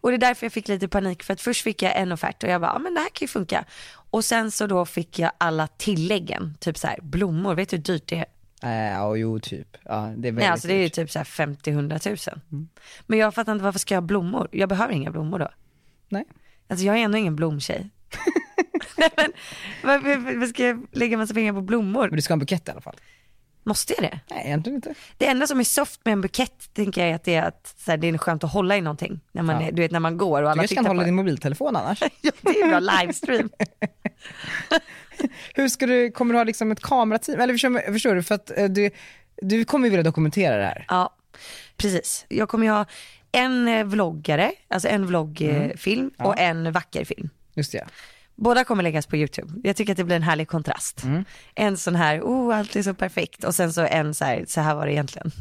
Speaker 2: och det är därför jag fick lite panik för att först fick jag en offert och jag bara, ja men det här kan ju funka. Och sen så då fick jag alla tilläggen, typ så här blommor, vet du hur dyrt det är?
Speaker 3: Äh, ja, jo typ. Ja, det är väldigt
Speaker 2: Nej alltså det är ju
Speaker 3: dyrt. Mm.
Speaker 2: typ så här 50-100 000. Men jag fattar inte varför ska jag ha blommor? Jag behöver inga blommor då.
Speaker 3: Nej.
Speaker 2: Alltså jag är ändå ingen blomtjej. Nej men varför, varför ska jag lägga massa pengar på blommor?
Speaker 3: Men du ska ha en bukett i alla fall?
Speaker 2: Måste jag det?
Speaker 3: Nej egentligen inte.
Speaker 2: Det enda som är soft med en bukett tänker jag är att det är, att, så här, det är skönt att hålla i någonting. När man, är- Du vet när man går och
Speaker 3: Du
Speaker 2: alla
Speaker 3: kanske
Speaker 2: tittar
Speaker 3: kan
Speaker 2: på
Speaker 3: hålla
Speaker 2: en.
Speaker 3: din mobiltelefon annars?
Speaker 2: Ja, det är ju bra livestream.
Speaker 3: Hur ska du, kommer du ha liksom ett kamerateam? Eller förstår, förstår du, för att eh, du, du kommer ju vilja dokumentera det här.
Speaker 2: Ja, precis. Jag kommer ju ha en eh, vloggare, alltså en vloggfilm
Speaker 3: Mm.
Speaker 2: och en vacker film.
Speaker 3: Just det. ja.
Speaker 2: Båda kommer läggas på YouTube. Jag tycker att det blir en härlig kontrast.
Speaker 3: Mm.
Speaker 2: En sån här, oh allt är så perfekt och sen så en så här, så här var det egentligen.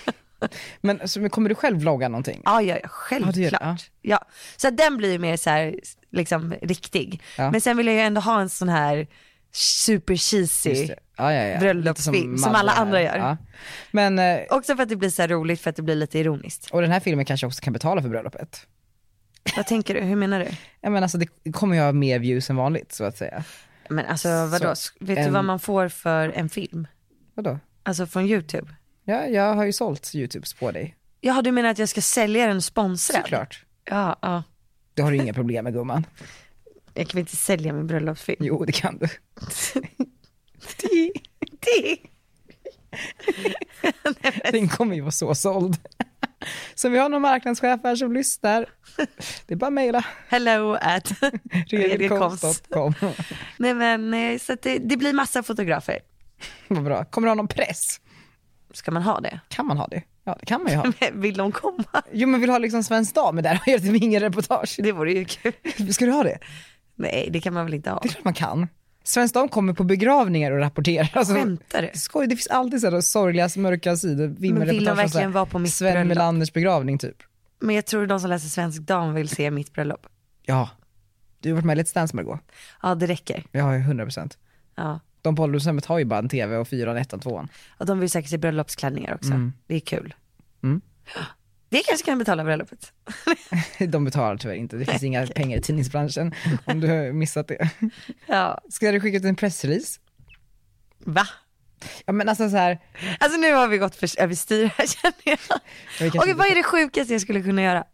Speaker 3: Men, så, men kommer du själv vlogga någonting?
Speaker 2: ja, ja, ja,
Speaker 3: Ja, det gör det,
Speaker 2: självklart.
Speaker 3: ja.
Speaker 2: Ja. Så att den blir ju mer så här, liksom riktig.
Speaker 3: Ja.
Speaker 2: Men sen vill jag ju ändå ha en sån här super
Speaker 3: Just
Speaker 2: cheesy.
Speaker 3: det. Ja, ja, ja.
Speaker 2: Bröllopsfilm,
Speaker 3: Lite
Speaker 2: som
Speaker 3: Madde
Speaker 2: alla
Speaker 3: här.
Speaker 2: andra gör.
Speaker 3: Ja. Men, eh,
Speaker 2: Också för att det blir så här roligt för att det blir lite ironiskt.
Speaker 3: och den här filmen kanske också kan betala för bröllopet?
Speaker 2: Vad tänker du, hur menar du?
Speaker 3: Jag menar, alltså, det kommer ju ha mer views än vanligt så att säga.
Speaker 2: Men alltså vadå,
Speaker 3: Så,
Speaker 2: vet du
Speaker 3: en-
Speaker 2: vad man får för en film?
Speaker 3: Vadå?
Speaker 2: Alltså från YouTube?
Speaker 3: Ja, jag har ju sålt YouTubes på dig.
Speaker 2: Jaha du menar att jag ska sälja den sponsrad?
Speaker 3: Såklart.
Speaker 2: Ja, ja.
Speaker 3: Det har du inga problem med gumman.
Speaker 2: Jag kan väl inte sälja min bröllopsfilm?
Speaker 3: Jo, det kan du. Den kommer ju vara så såld. Så om vi har någon marknadschef här som lyssnar, det är bara att mejla.
Speaker 2: Hello at Redkonst.
Speaker 3: Redkonst.com.
Speaker 2: Nej men eh, så att det, det blir massa fotografer.
Speaker 3: Vad bra. Kommer du ha någon press?
Speaker 2: Ska man ha det?
Speaker 3: Kan man ha det? Ja, det kan man ju ha.
Speaker 2: Vill de komma?
Speaker 3: Jo, men vill du ha liksom Svensk Dam? Men där har jag typ ingen reportage.
Speaker 2: Det vore ju kul.
Speaker 3: Ska du ha det?
Speaker 2: Nej det kan man väl inte ha?
Speaker 3: Det är klart man kan. Svensk Dam kommer på begravningar och rapporterar. Alltså,
Speaker 2: Skämtar du?
Speaker 3: Skoj, det finns alltid sådana sorgliga, mörka sidor.
Speaker 2: Men vill de
Speaker 3: vimmelreportage om så här
Speaker 2: verkligen vara på mitt
Speaker 3: Sven
Speaker 2: bröllop?
Speaker 3: Melanders begravning typ.
Speaker 2: Men jag tror de som läser Svensk Dam vill se mitt bröllop.
Speaker 3: Ja. Du har varit med i Let's Dance Margot.
Speaker 2: Ja det räcker.
Speaker 3: Jag har ju 100%.
Speaker 2: Ja.
Speaker 3: De på ålderdomshemmet har ju bara en tv och fyran, ettan, tvåan.
Speaker 2: Och de vill säkert se bröllopsklänningar också. Det är kul. Det kanske kan betala bröllopet.
Speaker 3: De betalar tyvärr inte, det finns inga pengar i tidningsbranschen om du har missat det.
Speaker 2: Ja,
Speaker 3: Ska du skicka ut en pressrelease?
Speaker 2: va?
Speaker 3: Ja men alltså så här,
Speaker 2: Alltså nu har vi gått för överstyr här känner
Speaker 3: vi
Speaker 2: jag.
Speaker 3: kanske
Speaker 2: Okej,
Speaker 3: inte-
Speaker 2: vad är det sjukaste jag skulle kunna göra?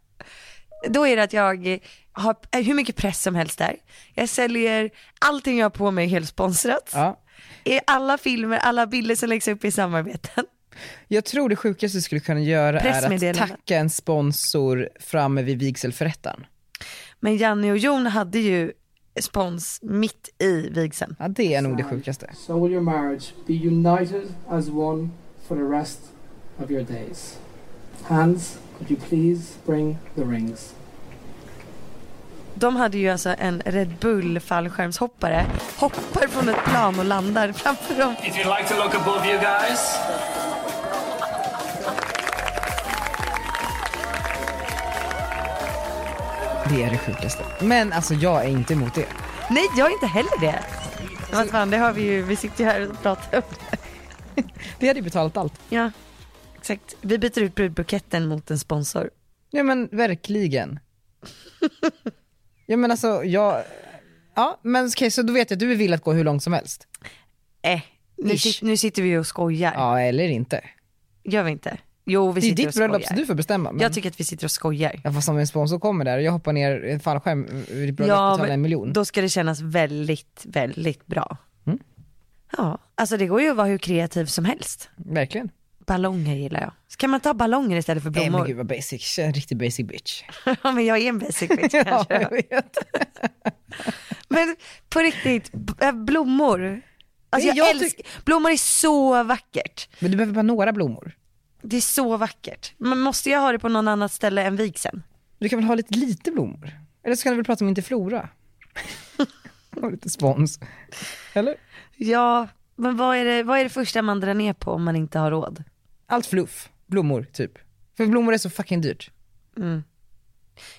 Speaker 2: Då är det att jag eh, har eh, hur mycket press som helst där. Jag säljer allting jag har på mig helt sponsrat.
Speaker 3: ja.
Speaker 2: I Alla filmer, alla bilder som läggs upp i samarbeten.
Speaker 3: Jag tror det sjukaste du skulle kunna göra är att
Speaker 2: Pressmeddelande.
Speaker 3: tacka en sponsor framme vid vigselförrättaren.
Speaker 2: Men Janne och Jon hade ju spons mitt i vigseln.
Speaker 3: Ja det är
Speaker 2: Alltså.
Speaker 3: nog det sjukaste.
Speaker 7: So will your marriage be united as one for the rest of your days. Hands, could you please bring the rings?
Speaker 2: De hade ju alltså en Red Bull fallskärmshoppare, hoppar från ett plan och landar framför dem.
Speaker 8: If you'd like to look above you guys.
Speaker 3: Det är det sjukaste. Men alltså jag är inte emot det.
Speaker 2: Nej, jag är inte heller det. Vad fan, det har vi ju, vi sitter ju här och pratar om det.
Speaker 3: Vi hade ju betalat allt.
Speaker 2: Ja, exakt. Vi byter ut brudbuketten mot en sponsor.
Speaker 3: Ja men verkligen. ja men alltså jag, ja men okej så då vet jag att du är villig att gå hur långt som helst.
Speaker 2: Eh, nu,
Speaker 3: Ish.
Speaker 2: sit, nu sitter vi ju och skojar.
Speaker 3: Ja eller inte.
Speaker 2: Gör vi inte? Jo, vi
Speaker 3: Det är
Speaker 2: sitter
Speaker 3: ditt
Speaker 2: och skojar.
Speaker 3: bröllop så du får bestämma. Men...
Speaker 2: Jag tycker att vi sitter och skojar.
Speaker 3: Ja fast om en sponsor kommer där och jag hoppar ner i en fallskärm ur ditt bröllop och
Speaker 2: Ja,
Speaker 3: betalar en miljon. Mm.
Speaker 2: men då ska det kännas väldigt, väldigt bra. Ja, alltså det går ju att vara hur kreativ som helst.
Speaker 3: Verkligen.
Speaker 2: Ballonger gillar jag. Så kan man ta ballonger istället för
Speaker 3: Nej men
Speaker 2: blommor?
Speaker 3: gud vad basic, en riktig basic bitch.
Speaker 2: Ja, men jag är en basic bitch
Speaker 3: Ja,
Speaker 2: kanske.
Speaker 3: jag vet.
Speaker 2: Men på riktigt, b- äh, blommor. Alltså
Speaker 3: Nej, jag
Speaker 2: jag älsk- blommor är så vackert.
Speaker 3: Men du behöver bara några blommor.
Speaker 2: Det är så vackert. Men måste jag ha det på någon annat ställe än vigseln?
Speaker 3: Du kan väl ha lite lite blommor? Eller så kan du väl prata om inte flora? och lite spons. Eller?
Speaker 2: Ja, men vad är, det, vad är det första man drar ner på om man inte har råd?
Speaker 3: Allt fluff, blommor typ. För blommor är så fucking dyrt.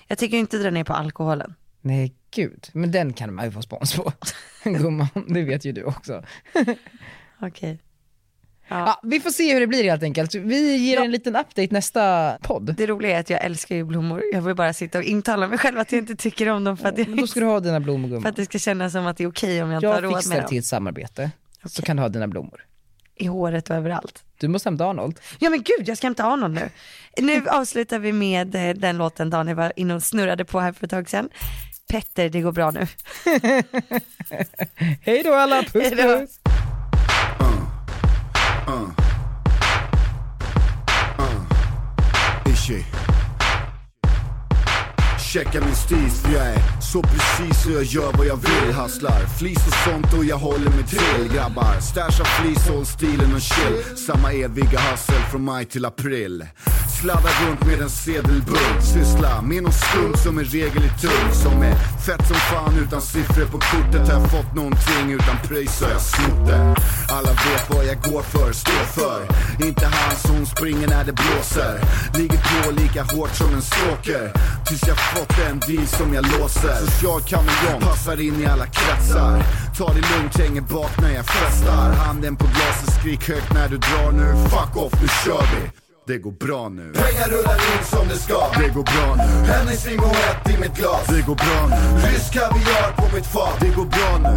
Speaker 2: Jag tycker inte dra ner på alkoholen.
Speaker 3: Nej gud, men den kan man ju få spons på. Gumman, det vet ju du också.
Speaker 2: Okej.
Speaker 3: Ja, vi får se hur det blir helt enkelt. Vi ger en liten update nästa podd.
Speaker 2: Det roliga är att jag älskar ju blommor. Jag vill bara sitta och intala mig själv att jag inte tycker om dem för att, jag,
Speaker 3: Men då ska du ha dina blommor gumman.
Speaker 2: för att det ska kännas som att det är okej om jag inte har
Speaker 3: Jag
Speaker 2: råd med
Speaker 3: fixar
Speaker 2: dem.
Speaker 3: till ett samarbete, så
Speaker 2: Okej.
Speaker 3: kan du ha dina blommor.
Speaker 2: I håret och överallt.
Speaker 3: Du måste hämta Arnold.
Speaker 2: Ja men gud, jag ska inte ha någon nu. Nu avslutar vi med eh, den låten Daniel var inne och snurrade på här för ett tag sedan. Petter, det går bra nu.
Speaker 3: Hej då alla, puss
Speaker 2: Hej då.
Speaker 3: puss!
Speaker 9: Ishi. Checka min stil för jag är så precis och jag gör vad jag vill Hustlar flis och sånt och jag håller mig till Grabbar, stasha flis, håll stilen och chill Samma eviga hustle från maj till april Sladda runt med en sedelbunt Syssla med någon skumt som en regel är tung Som är fett som fan utan siffror på kortet Har jag fått någonting utan pröjs har jag snott det Alla vet vad jag går för, står för Inte han som springer när det blåser Ligger på lika hårt som en stalker Tills jag fått en deal som jag låser Social kameleont, passar in i alla kretsar Ta det lugnt, hänger bak när jag festar Handen på glaset, skrik högt när du drar nu Fuck off, nu kör vi det går bra nu Pengar rullar in som det ska Det går bra nu Hennes ett i mitt glas Det går bra nu Rysk kaviar på mitt fat Det går bra nu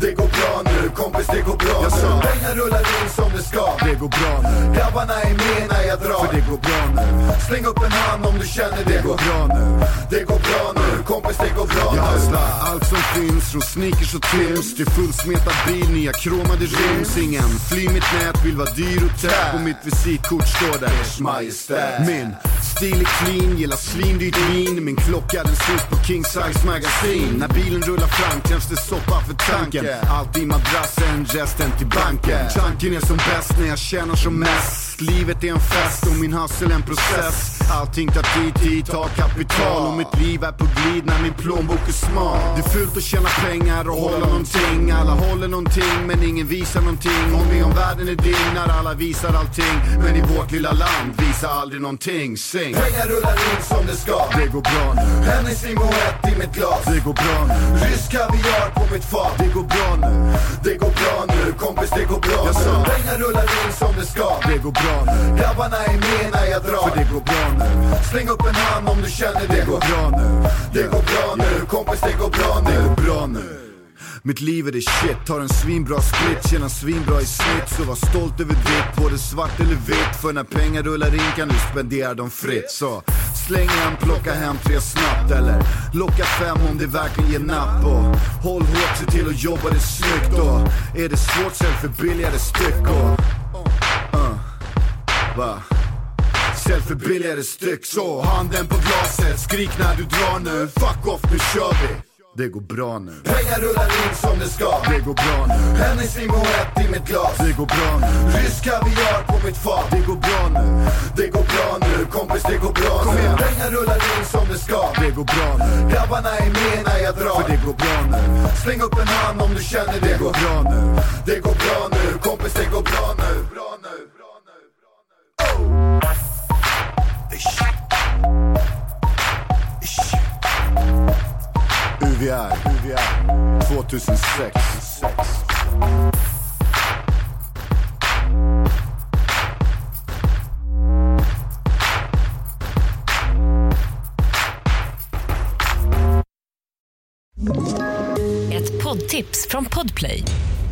Speaker 9: Det går bra nu kompis det går bra Jag sa pengar rullar in som det ska Det går bra nu Grabbarna är med när jag drar För det går bra nu Släng upp en hand om du känner det går bra nu Det går bra nu kompis det går bra nu Jag hustlar allt som finns från sneakers och Tims till fullsmetad bil, nya kromade rims Ingen fly mitt nät, vill vara dyr och tät På mitt visitkort står det Ers Majestät Min stil är clean, gillar svindyrt vin Min klocka den syns på King Size Magasin När bilen rullar fram krävs det soppa för tanken Allt i madrassen, resten till banken Tanken är som bäst när jag tjänar som mest Livet är en fest och min hustle en process Allting tar tid, tid tar kapital Och mitt liv är på glid när min plånbok är smal Det är fult att tjäna pengar och hålla någonting Alla håller någonting men ingen visar någonting Om vi om världen är din när alla visar allting Men i vårt lilla land visar aldrig någonting Sing! Pengar rullar in som det ska Det går bra nu Hennes ett i mitt glas Det går bra nu Rysk kaviar på mitt fat Det går bra nu Det går bra nu kompis det går bra Jag sa pengar rullar in som det ska Det går bra nu Grabbarna är med när jag drar För det går bra nu Släng upp en hand om du känner det går bra nu Det går bra nu kompis det går bra nu Det går bra nu mitt liv är det shit, tar en svinbra split, tjänar svinbra i snitt Så var stolt över ditt, både svart eller vitt För när pengar rullar in kan du spendera dem fritt Så släng en, plocka hem tre snabbt Eller locka fem om det verkligen ger napp och Håll hårt, se till att jobba det snyggt och Är det svårt, sälj för billigare styck och uh, va? Sälj för billigare styck Så handen på glaset, skrik när du drar nu Fuck off, nu kör vi det går bra nu Pengar rullar in som det ska Det går bra nu Hennes ett i mitt glas Det går bra nu Rysk kaviar på mitt fat Det går bra nu Det går bra nu kompis det går bra nu Pengar rullar in som det ska Det går bra nu Grabbarna är med när jag drar För det går bra nu Släng upp en hand om du känner det går bra nu Det går bra nu kompis det går bra nu Bra nu, bra nu, bra nu Oh! UVR, UVR 2006
Speaker 10: Ett poddtips från Podplay.